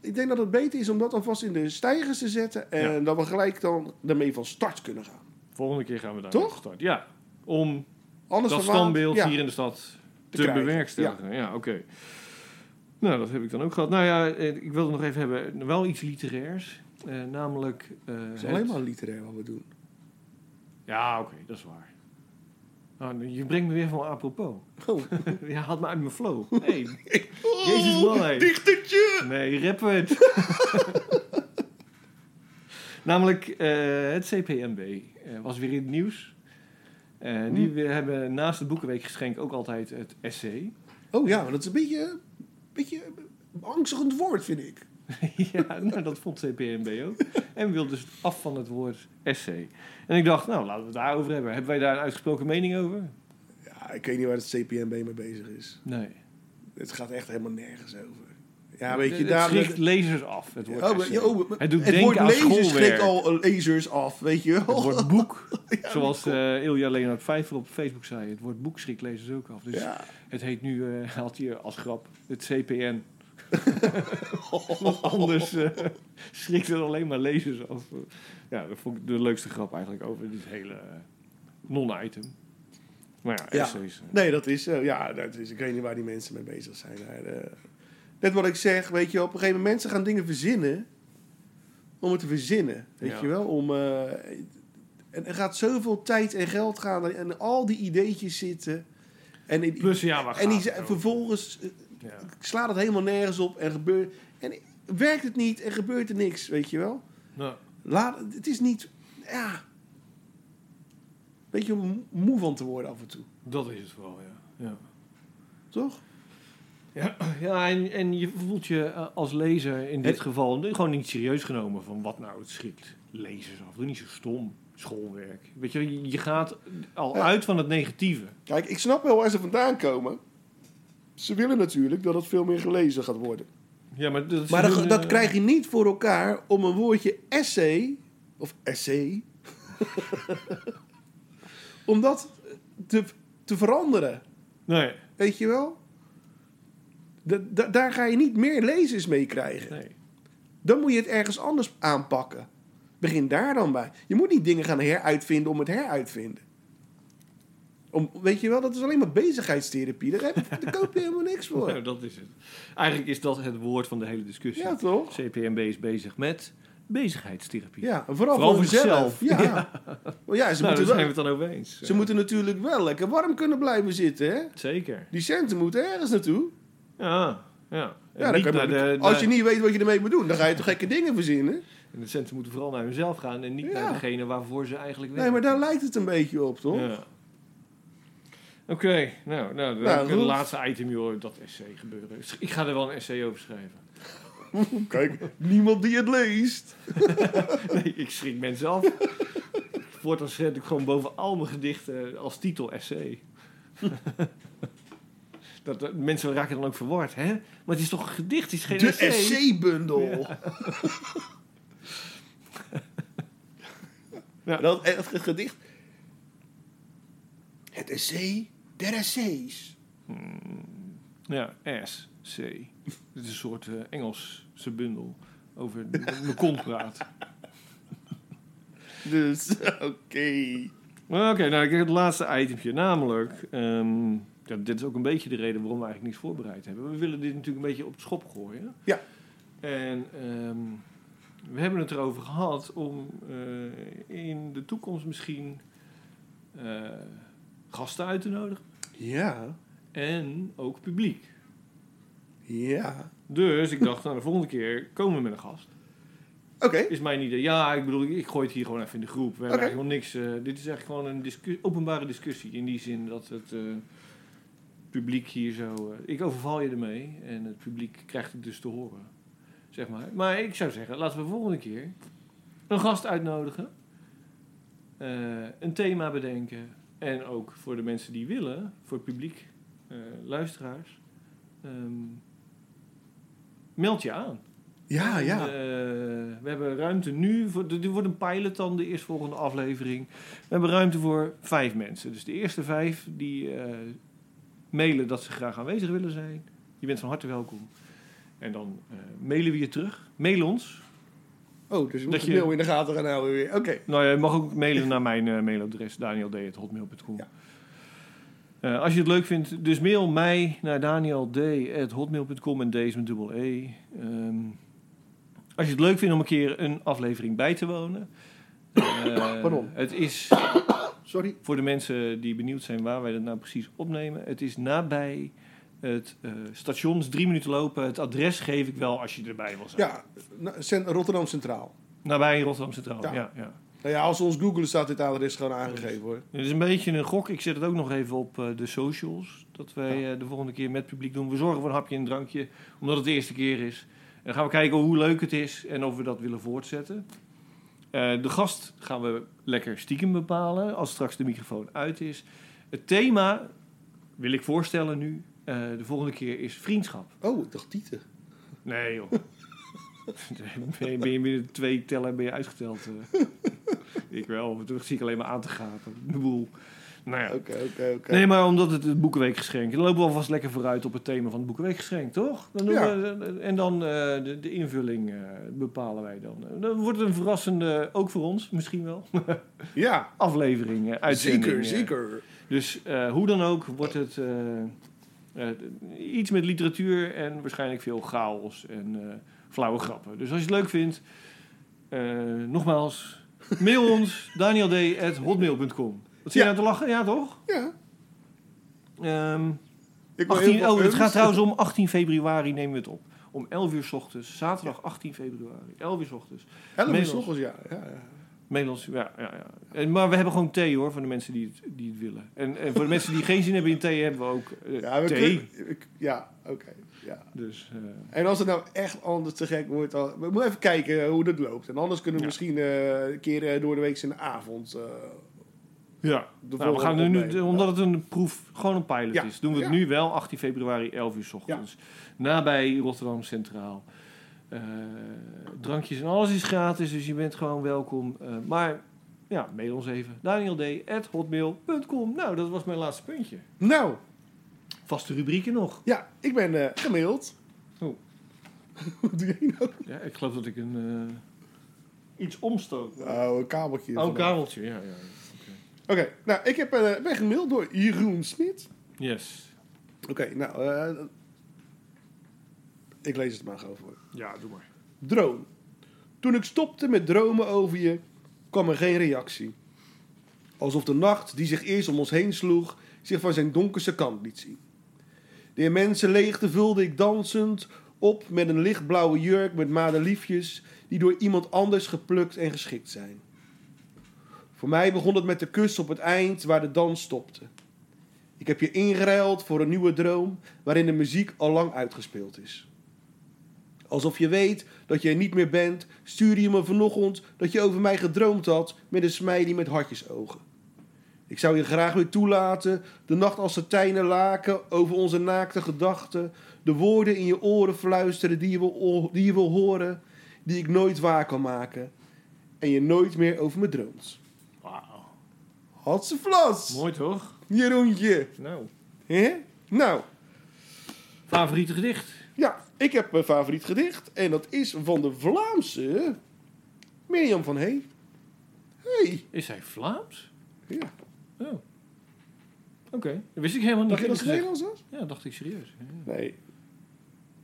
G: ik denk dat het beter is om dat alvast in de stijgers te zetten. En dat we gelijk dan daarmee van start kunnen gaan.
F: Volgende keer gaan we daar
G: Toch?
F: op start. Ja, om
G: Anders
F: dat
G: verwaand-
F: standbeeld
G: ja.
F: hier in de stad te,
G: krijgen,
F: bewerkstelligen. Ja, oké. Nou, dat heb ik dan ook gehad. Nou ja, eh, ik wilde nog even hebben, wel iets literairs. Eh, namelijk... eh,
G: Het is
F: het-
G: alleen maar literair wat we doen.
F: Ja, oké, dat is waar. Nou, nu- je brengt me weer van apropos.
G: Oh.
F: *laughs* je haalt me uit mijn flow. Nee. *laughs* Jezus man, hey.
G: Dichtertje!
F: Nee, rappen we het. *laughs* Namelijk, eh, het CPMB eh, was weer in het nieuws. Eh,
G: Hmm.
F: Die we hebben naast het Boekenweekgeschenk ook altijd het essay. *laughs*
G: Oh ja, maar dat is een beetje, beetje een angstigend woord, vind ik.
F: ja, nou, dat vond CPMB ook. En wilde dus af van het woord essay. En ik dacht, nou, laten we het daarover hebben. Hebben wij daar een uitgesproken mening over?
G: Ja, ik weet niet waar het CPNB mee bezig is.
F: Nee.
G: Het gaat echt helemaal nergens over. Ja, weet je,
F: het
G: daar...
F: schrikt lezers af, het woord
G: Oh, maar-
F: essay.
G: ja, oh, maar-
F: het doet
G: het
F: denken
G: woord
F: aan
G: lezer
F: schoolwerk.
G: schrikt al lasers af, weet je
F: Het
G: wel.
F: woord
G: *laughs*
F: boek, zoals eh Ilja Leonard Vijver op Facebook zei. Het woord boek schrikt lezers ook af. Dus
G: Ja.
F: het heet nu, eh, haalt hij als grap, het
G: *laughs*
F: CPN. Want anders eh, schrikt het alleen maar lezers af. Ja, dat vond ik de leukste grap eigenlijk over dit hele eh, non-item. Maar ja,
G: Ja.
F: essays.
G: Nee, dat is, eh, ja, dat is... Ik weet niet waar die mensen mee bezig zijn. Maar, eh, net wat ik zeg, weet je, op een gegeven moment... Mensen gaan dingen verzinnen om het te verzinnen, weet
F: Ja.
G: je wel. Om, eh, en er gaat zoveel tijd en geld gaan en, al die ideetjes zitten. En, in-
F: Plus, nou. ja, waar
G: en die,
F: gaat het
G: zijn-
F: over?
G: vervolgens eh,
F: Ja.
G: slaat het helemaal nergens op en gebeurt... En werkt het niet en gebeurt er niks, weet je wel.
F: Nou,
G: Laat, het is niet... Ja... Een beetje om moe van te worden af en toe,
F: dat is het wel, ja. ja.
G: toch?
F: Ja, *clears throat* ja en, en je voelt je eh, als lezer in dit
G: Het-
F: geval gewoon niet serieus genomen van wat nou het schrikt. Lezers af, doe niet zo stom. Schoolwerk. Weet je, je- je gaat al
G: Ja.
F: uit van het negatieve.
G: Kijk, ik snap wel waar ze vandaan komen. Ze willen natuurlijk dat het veel meer gelezen gaat worden.
F: Ja, maar dat, eh,
G: Maar dat, dat krijg je niet voor elkaar om een woordje essay, of essay, om dat te, te veranderen.
F: Nee,
G: Weet je wel? Da- da- daar ga je niet meer lezers mee krijgen.
F: nee.
G: Dan moet je het ergens anders aanpakken. Begin daar dan bij. Je moet niet dingen gaan heruitvinden om het heruitvinden. Om, weet je wel, dat is alleen maar bezigheidstherapie. Daar, heb, daar koop je helemaal niks
F: *laughs*
G: voor.
F: Nou, dat is het. Eigenlijk is dat het woord van de hele discussie.
G: Ja, toch?
F: CPMB is bezig met bezigheidstherapie.
G: Ja, en vooral,
F: Vooral
G: voor
F: voor
G: zichzelf.
F: zichzelf.
G: Ja. Wel ja,
F: *laughs*
G: ze,
F: nou, daar zijn
G: moeten
F: we
G: wel-
F: het dan over eens.
G: ze moeten natuurlijk wel lekker warm kunnen blijven zitten. Hè?
F: Zeker.
G: Die centen moeten ergens naartoe.
F: Ja, ja. En
G: Ja, dan
F: niet
G: kan je-
F: naar de-
G: als
F: naar-
G: je niet weet wat je ermee moet doen, dan ga je toch gekke dingen verzinnen.
F: En de centen moeten vooral naar hunzelf gaan en niet
G: Ja.
F: naar degene waarvoor ze eigenlijk
G: Nee, maar daar lijkt het een beetje op, toch?
F: Ja. Oké, nou, nou, dan
G: Nou,
F: heb ik het
G: Roel.
F: laatste item, joh, dat essay gebeuren. Ik ga er wel een essay over
G: *laughs*
F: schrijven.
G: Kijk, niemand die het leest.
F: Nee, ik schrik mensen
G: *laughs*
F: af. Voortaan zet ik gewoon boven al mijn gedichten als titel essay. *laughs* dat, dat- mensen raken dan ook verward, hè? Maar het is toch een gedicht, het is geen
G: De
F: essay.
G: essay-bundel. *laughs*
F: Ja.
G: Dat, eh, het gedicht. Het essay der essays.
F: Ja, SC. Dit is een soort eh, Engelse bundel over mijn kont praat.
G: Dus, *laughs* oké.
F: Oké, nou, ik heb het laatste itempje. Namelijk, ehm, ja, dit is ook een beetje de reden waarom we eigenlijk niets voorbereid hebben. We willen dit natuurlijk een beetje op de schop gooien.
G: Ja.
F: En ehm, we hebben het erover gehad om eh, in de toekomst misschien eh, gasten uit te nodigen.
G: Ja,
F: En ook publiek.
G: ja.
F: Dus ik dacht, nou, de volgende keer komen we met een gast.
G: Oké,
F: Is mijn idee. Ja, ik bedoel, ik gooi het hier gewoon even in de groep. We hebben
G: Oké.
F: eigenlijk nog niks. eh, dit is echt gewoon een discu- openbare discussie. In die zin dat het eh, publiek hier zo. eh, ik overval je ermee en het publiek krijgt het dus te horen. Zeg maar. Maar ik zou zeggen, laten we volgende keer een gast uitnodigen. eh, een thema bedenken. En ook voor de mensen die willen, voor het publiek, eh, luisteraars. ehm, meld je aan.
G: ja,
F: En,
G: ja.
F: eh, we hebben ruimte nu. Voor, dit wordt een pilot dan, de eerstvolgende aflevering. We hebben ruimte voor vijf mensen. Dus de eerste vijf die eh, mailen dat ze graag aanwezig willen zijn. Je bent van harte welkom. En dan eh, mailen we je terug. Mail ons.
G: Oh, dus je moet
F: Dat
G: het
F: je-
G: mail in de gaten gaan houden weer. Oké.
F: Nou, je mag ook mailen naar mijn eh, mailadres. danield.hotmail.com
G: Ja.
F: Eh, als je het leuk vindt, dus mail mij naar danield.hotmail.com en deze met dubbel E. Ehm, als je het leuk vindt om een keer een aflevering bij te wonen. Eh,
G: *coughs* Pardon.
F: Het is
G: Sorry.
F: voor de mensen die benieuwd zijn waar wij dat nou precies opnemen. Het is nabij het eh station, is drie minuten lopen. Het adres geef ik wel als je erbij wil zijn.
G: Ja, na- Cent- Rotterdam Centraal.
F: Nabij Rotterdam Centraal.
G: Ja.
F: Ja, ja.
G: Nou ja, als we ons googelen staat dit adres gewoon aangegeven hoor.
F: Het is een beetje een gok. Ik zet het ook nog even op eh, de socials. Dat wij eh, de volgende keer met publiek doen. We zorgen voor een hapje en een drankje. Omdat het de eerste keer is. En dan gaan we kijken hoe leuk het is. En of we dat willen voortzetten. Eh, de gast gaan we lekker stiekem bepalen. Als straks de microfoon uit is. Het thema wil ik voorstellen nu. eh, de volgende keer is vriendschap.
G: Oh, ik dacht Tieten.
F: Nee joh. *laughs* ben, je, ben je binnen twee tellen ben je uitgeteld? *laughs* eh. ik wel. Toen zie ik alleen maar aan te gapen. De boel. Nou ja.
G: Oké, oké, oké.
F: Nee, maar omdat het het Boekenweekgeschenk... Dan lopen we alvast lekker vooruit op het thema van het Boekenweekgeschenk, toch? Dan doen
G: Ja.
F: we, en dan eh, de, de invulling eh, bepalen wij dan. Eh, Dan wordt het een verrassende, ook voor ons misschien wel, *laughs*
G: Ja,
F: aflevering, eh, uitzending.
G: zeker,
F: eh.
G: zeker.
F: Dus eh, hoe dan ook wordt het eh, eh, iets met literatuur en waarschijnlijk veel chaos en eh, flauwe grappen. Dus als je het leuk vindt, eh, nogmaals, mail ons *laughs* danield.hotmail.com. Wat zie je
G: Ja.
F: nou te lachen? Ja, toch?
G: Ja.
F: Ehm,
G: Ik wil
F: 18,
G: heel veel
F: oh, het
G: puns.
F: gaat trouwens om 18 februari nemen we het op. Om 11 uur 's ochtends, zaterdag 18 februari, 11 uur 's ochtends.
G: Helemaal
F: Nederlands.
G: nog eens, ja. ja, ja.
F: Nederlands, ja, ja, ja. En, maar we hebben gewoon thee hoor, voor de mensen die het, die het willen. En, en voor de mensen die geen zin hebben in thee, hebben we ook eh,
G: Ja, we
F: thee.
G: kunnen- ik- ja oké. ja.
F: Dus, eh,
G: En als het nou echt anders te gek wordt, dan, we moeten even kijken hoe dat loopt. En anders kunnen
F: Ja.
G: we misschien eh, een keer eh, door de week in de avond. eh,
F: ja.
G: de
F: Nou, we gaan
G: volgende
F: er nu,
G: opnemen.
F: omdat het een proef, gewoon een pilot
G: Ja.
F: is, doen we het
G: Ja.
F: nu wel 18 februari, 11 uur 's ochtends. Nabij Rotterdam Centraal. Eh, drankjes en alles is gratis, dus je bent gewoon welkom. Eh, maar ja, mail ons even. danield.hotmail.com Nou, dat was mijn laatste puntje.
G: Nou,
F: Vaste rubrieken nog.
G: ja, ik ben eh, gemaild.
F: Oh.
G: *laughs* Wat doe jij nou?
F: Ja, ik geloof dat ik een... eh, iets omstoot.
G: Nou, een kabeltje.
F: Oh, een
G: vandaag.
F: kabeltje, ja, ja.
G: Oké, nou, ik heb, eh, ben gemaild door Jeroen Smit.
F: Yes.
G: Oké, nou, eh, ik lees het maar gewoon voor.
F: Ja, doe maar.
G: Droom. Toen ik stopte met dromen over je, kwam er geen reactie. Alsof de nacht die zich eerst om ons heen sloeg, zich van zijn donkerste kant liet zien. De immense leegte vulde ik dansend op met een lichtblauwe jurk met madeliefjes die door iemand anders geplukt en geschikt zijn. Voor mij begon het met de kus op het eind waar de dans stopte. Ik heb je ingeruild voor een nieuwe droom waarin de muziek al lang uitgespeeld is. Alsof je weet dat je er niet meer bent, stuurde je me vanochtend dat je over mij gedroomd had met een smiley met hartjesogen. Ik zou je graag weer toelaten, de nacht als satijnen laken over onze naakte gedachten, de woorden in je oren fluisteren die je, wil, o- die je wil horen, die ik nooit waar kan maken en je nooit meer over me droomt.
F: Wauw.
G: Hadse vlas,
F: Mooi toch?
G: Jeroentje.
F: Nou.
G: hè? Nou,
F: Favoriete gedicht?
G: Ja, ik heb mijn favoriet gedicht. En dat is van de Vlaamse Mirjam van Hey. Hey,
F: Is hij Vlaams?
G: Ja.
F: Oh. Oké, dat wist ik helemaal niet.
G: Dacht je dat het
F: eerlijk
G: Nederlands was?
F: gezegd. Ja, dacht ik serieus. Ja.
G: Nee.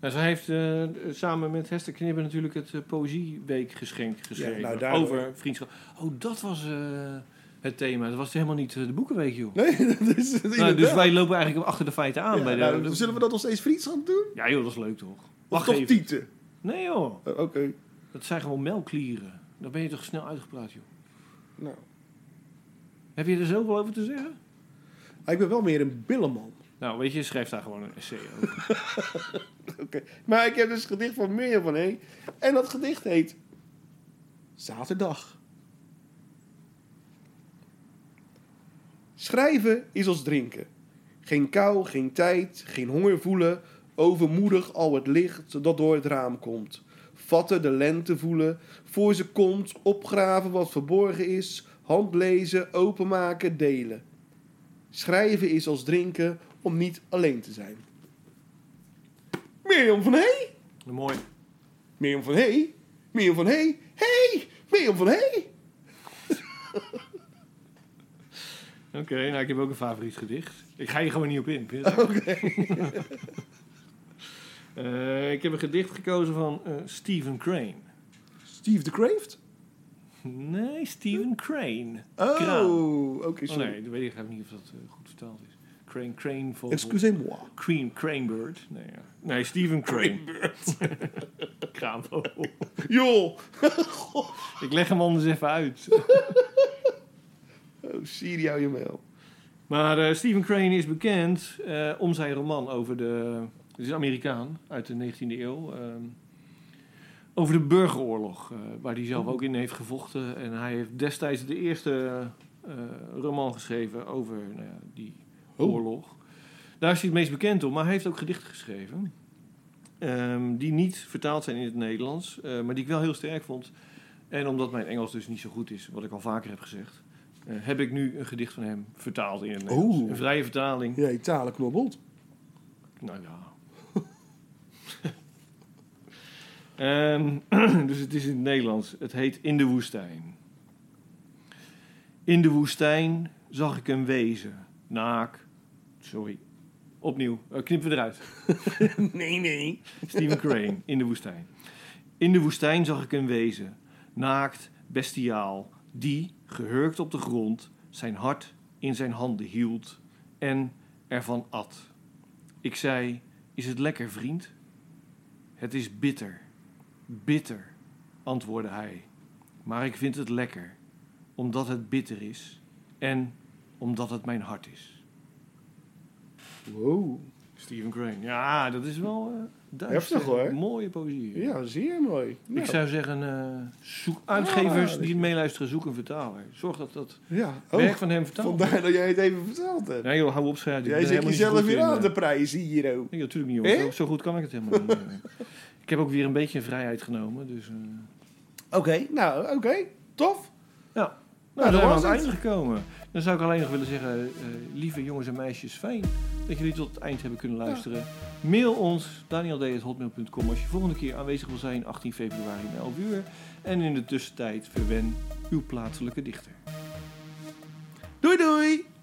F: Nou, zij heeft eh, samen met Hester Knibben natuurlijk het eh, Poëzieweekgeschenk geschreven.
G: Ja, nou, daarom-
F: Over vriendschap. Oh, dat was eh, het thema. Dat was helemaal niet eh, de boekenweek, joh.
G: Nee, *laughs* dat is
F: Nou, dus wij lopen eigenlijk achter de feiten aan. bij de, de-
G: nou, Zullen we dat nog steeds vriendschap doen?
F: Ja joh, dat is leuk toch?
G: Of
F: Wacht
G: toch
F: even.
G: tieten?
F: Nee joh,
G: Oh, Oké.
F: dat zijn gewoon melklieren. Dan ben je toch snel uitgepraat joh.
G: Nou.
F: Heb je er zoveel over te zeggen?
G: Ah, ik ben wel meer een billenman.
F: Nou weet je, schrijf daar gewoon een essay *laughs* over.
G: Oké. Maar ik heb dus het gedicht van Mirjam van Heen. En dat gedicht heet... Zaterdag. Schrijven is als drinken. Geen kou, geen tijd, geen honger voelen. Overmoedig al het licht dat door het raam komt. Vatten de lente voelen. Voor ze komt, opgraven wat verborgen is. Handlezen, openmaken, delen. Schrijven is als drinken om niet alleen te zijn. Mirjam van Hee?
F: Nou, Mooi.
G: Mirjam van Hee? Mirjam van Hee? Hey! Mirjam van Hee?
F: Oké, nou ik heb ook een favoriet gedicht. Ik ga hier gewoon niet op in. vind je *laughs* dat? Eh, ik heb een gedicht gekozen van eh, Stephen Crane.
G: Steve de Craft?
F: Nee, Stephen Crane.
G: Oh,
F: Kraan.
G: oké,
F: Oh
G: sorry.
F: nee, dat weet ik eigenlijk niet of dat eh, goed vertaald is. Crane, Crane voor...
G: Excusez-moi.
F: Crane, Cranebird. Nee, ja. nee Stephen Crane. *laughs* Kraanvogel.
G: Joh!
F: Ik leg hem anders even uit.
G: Oh, zie jou je mail.
F: Maar eh, Stephen Crane is bekend eh, om zijn roman over de... Het is een Amerikaan uit de 19e eeuw. ehm, over de burgeroorlog, eh, waar hij zelf ook in heeft gevochten. En hij heeft destijds de eerste eh, roman geschreven over nou ja, die oorlog. Daar is hij het meest bekend om, maar hij heeft ook gedichten geschreven. ehm, die niet vertaald zijn in het Nederlands, eh, maar die ik wel heel sterk vond. En omdat mijn Engels dus niet zo goed is, wat ik al vaker heb gezegd... eh, heb ik nu een gedicht van hem vertaald in het Nederlands.
G: Oeh.
F: Een vrije vertaling.
G: Ja, talen knobbelt.
F: Nou ja. *laughs* Ehm, *clears throat* dus het is in het Nederlands. Het heet In de woestijn. In de woestijn zag ik een wezen. Naak. Sorry. Opnieuw. Eh, knippen we eruit.
G: *laughs* Nee, nee.
F: Stephen Crane. In de woestijn. In de woestijn zag ik een wezen. Naakt, bestiaal. Die, gehurkt op de grond, zijn hart in zijn handen hield en ervan at. Ik zei: Is het lekker, vriend? Het is bitter. Bitter, antwoordde hij. Maar ik vind het lekker, omdat het bitter is en omdat het mijn hart is.
G: Wow.
F: Stephen Crane. Ja, dat is wel eh duister.
G: Heftig, hoor.
F: Mooie poëzie.
G: Ja, zeer mooi.
F: Ik
G: Nou, Ah,
F: zou zeggen, eh, zoek uitgevers
G: dat
F: die meeluisteren, zoek een vertaler. Zorg dat dat
G: Ja,
F: werk
G: oh,
F: van hem vertaald wordt.
G: vandaar dat jij het even verteld hebt.
F: Nee joh, hou op schrijven.
G: jij zit jezelf weer
F: eh.
G: aan te prijzen hier, ook.
F: Nee, natuurlijk niet hoor.
G: Eh?
F: Zo, zo goed kan ik het helemaal niet. eh. ik heb ook weer een beetje vrijheid genomen, dus... eh,
G: Oké, nou, oké. Tof.
F: ja.
G: Nou,
F: Nou,
G: dat
F: dan zijn we aan
G: was
F: het
G: het.
F: einde gekomen. Dan zou ik alleen nog willen zeggen, eh, lieve jongens en meisjes, fijn dat jullie tot het eind hebben kunnen luisteren. Mail ons, danield.hotmail.com, als je volgende keer aanwezig wil zijn, 18 februari om 11 uur. En in de tussentijd verwen uw plaatselijke dichter.
G: Doei, doei.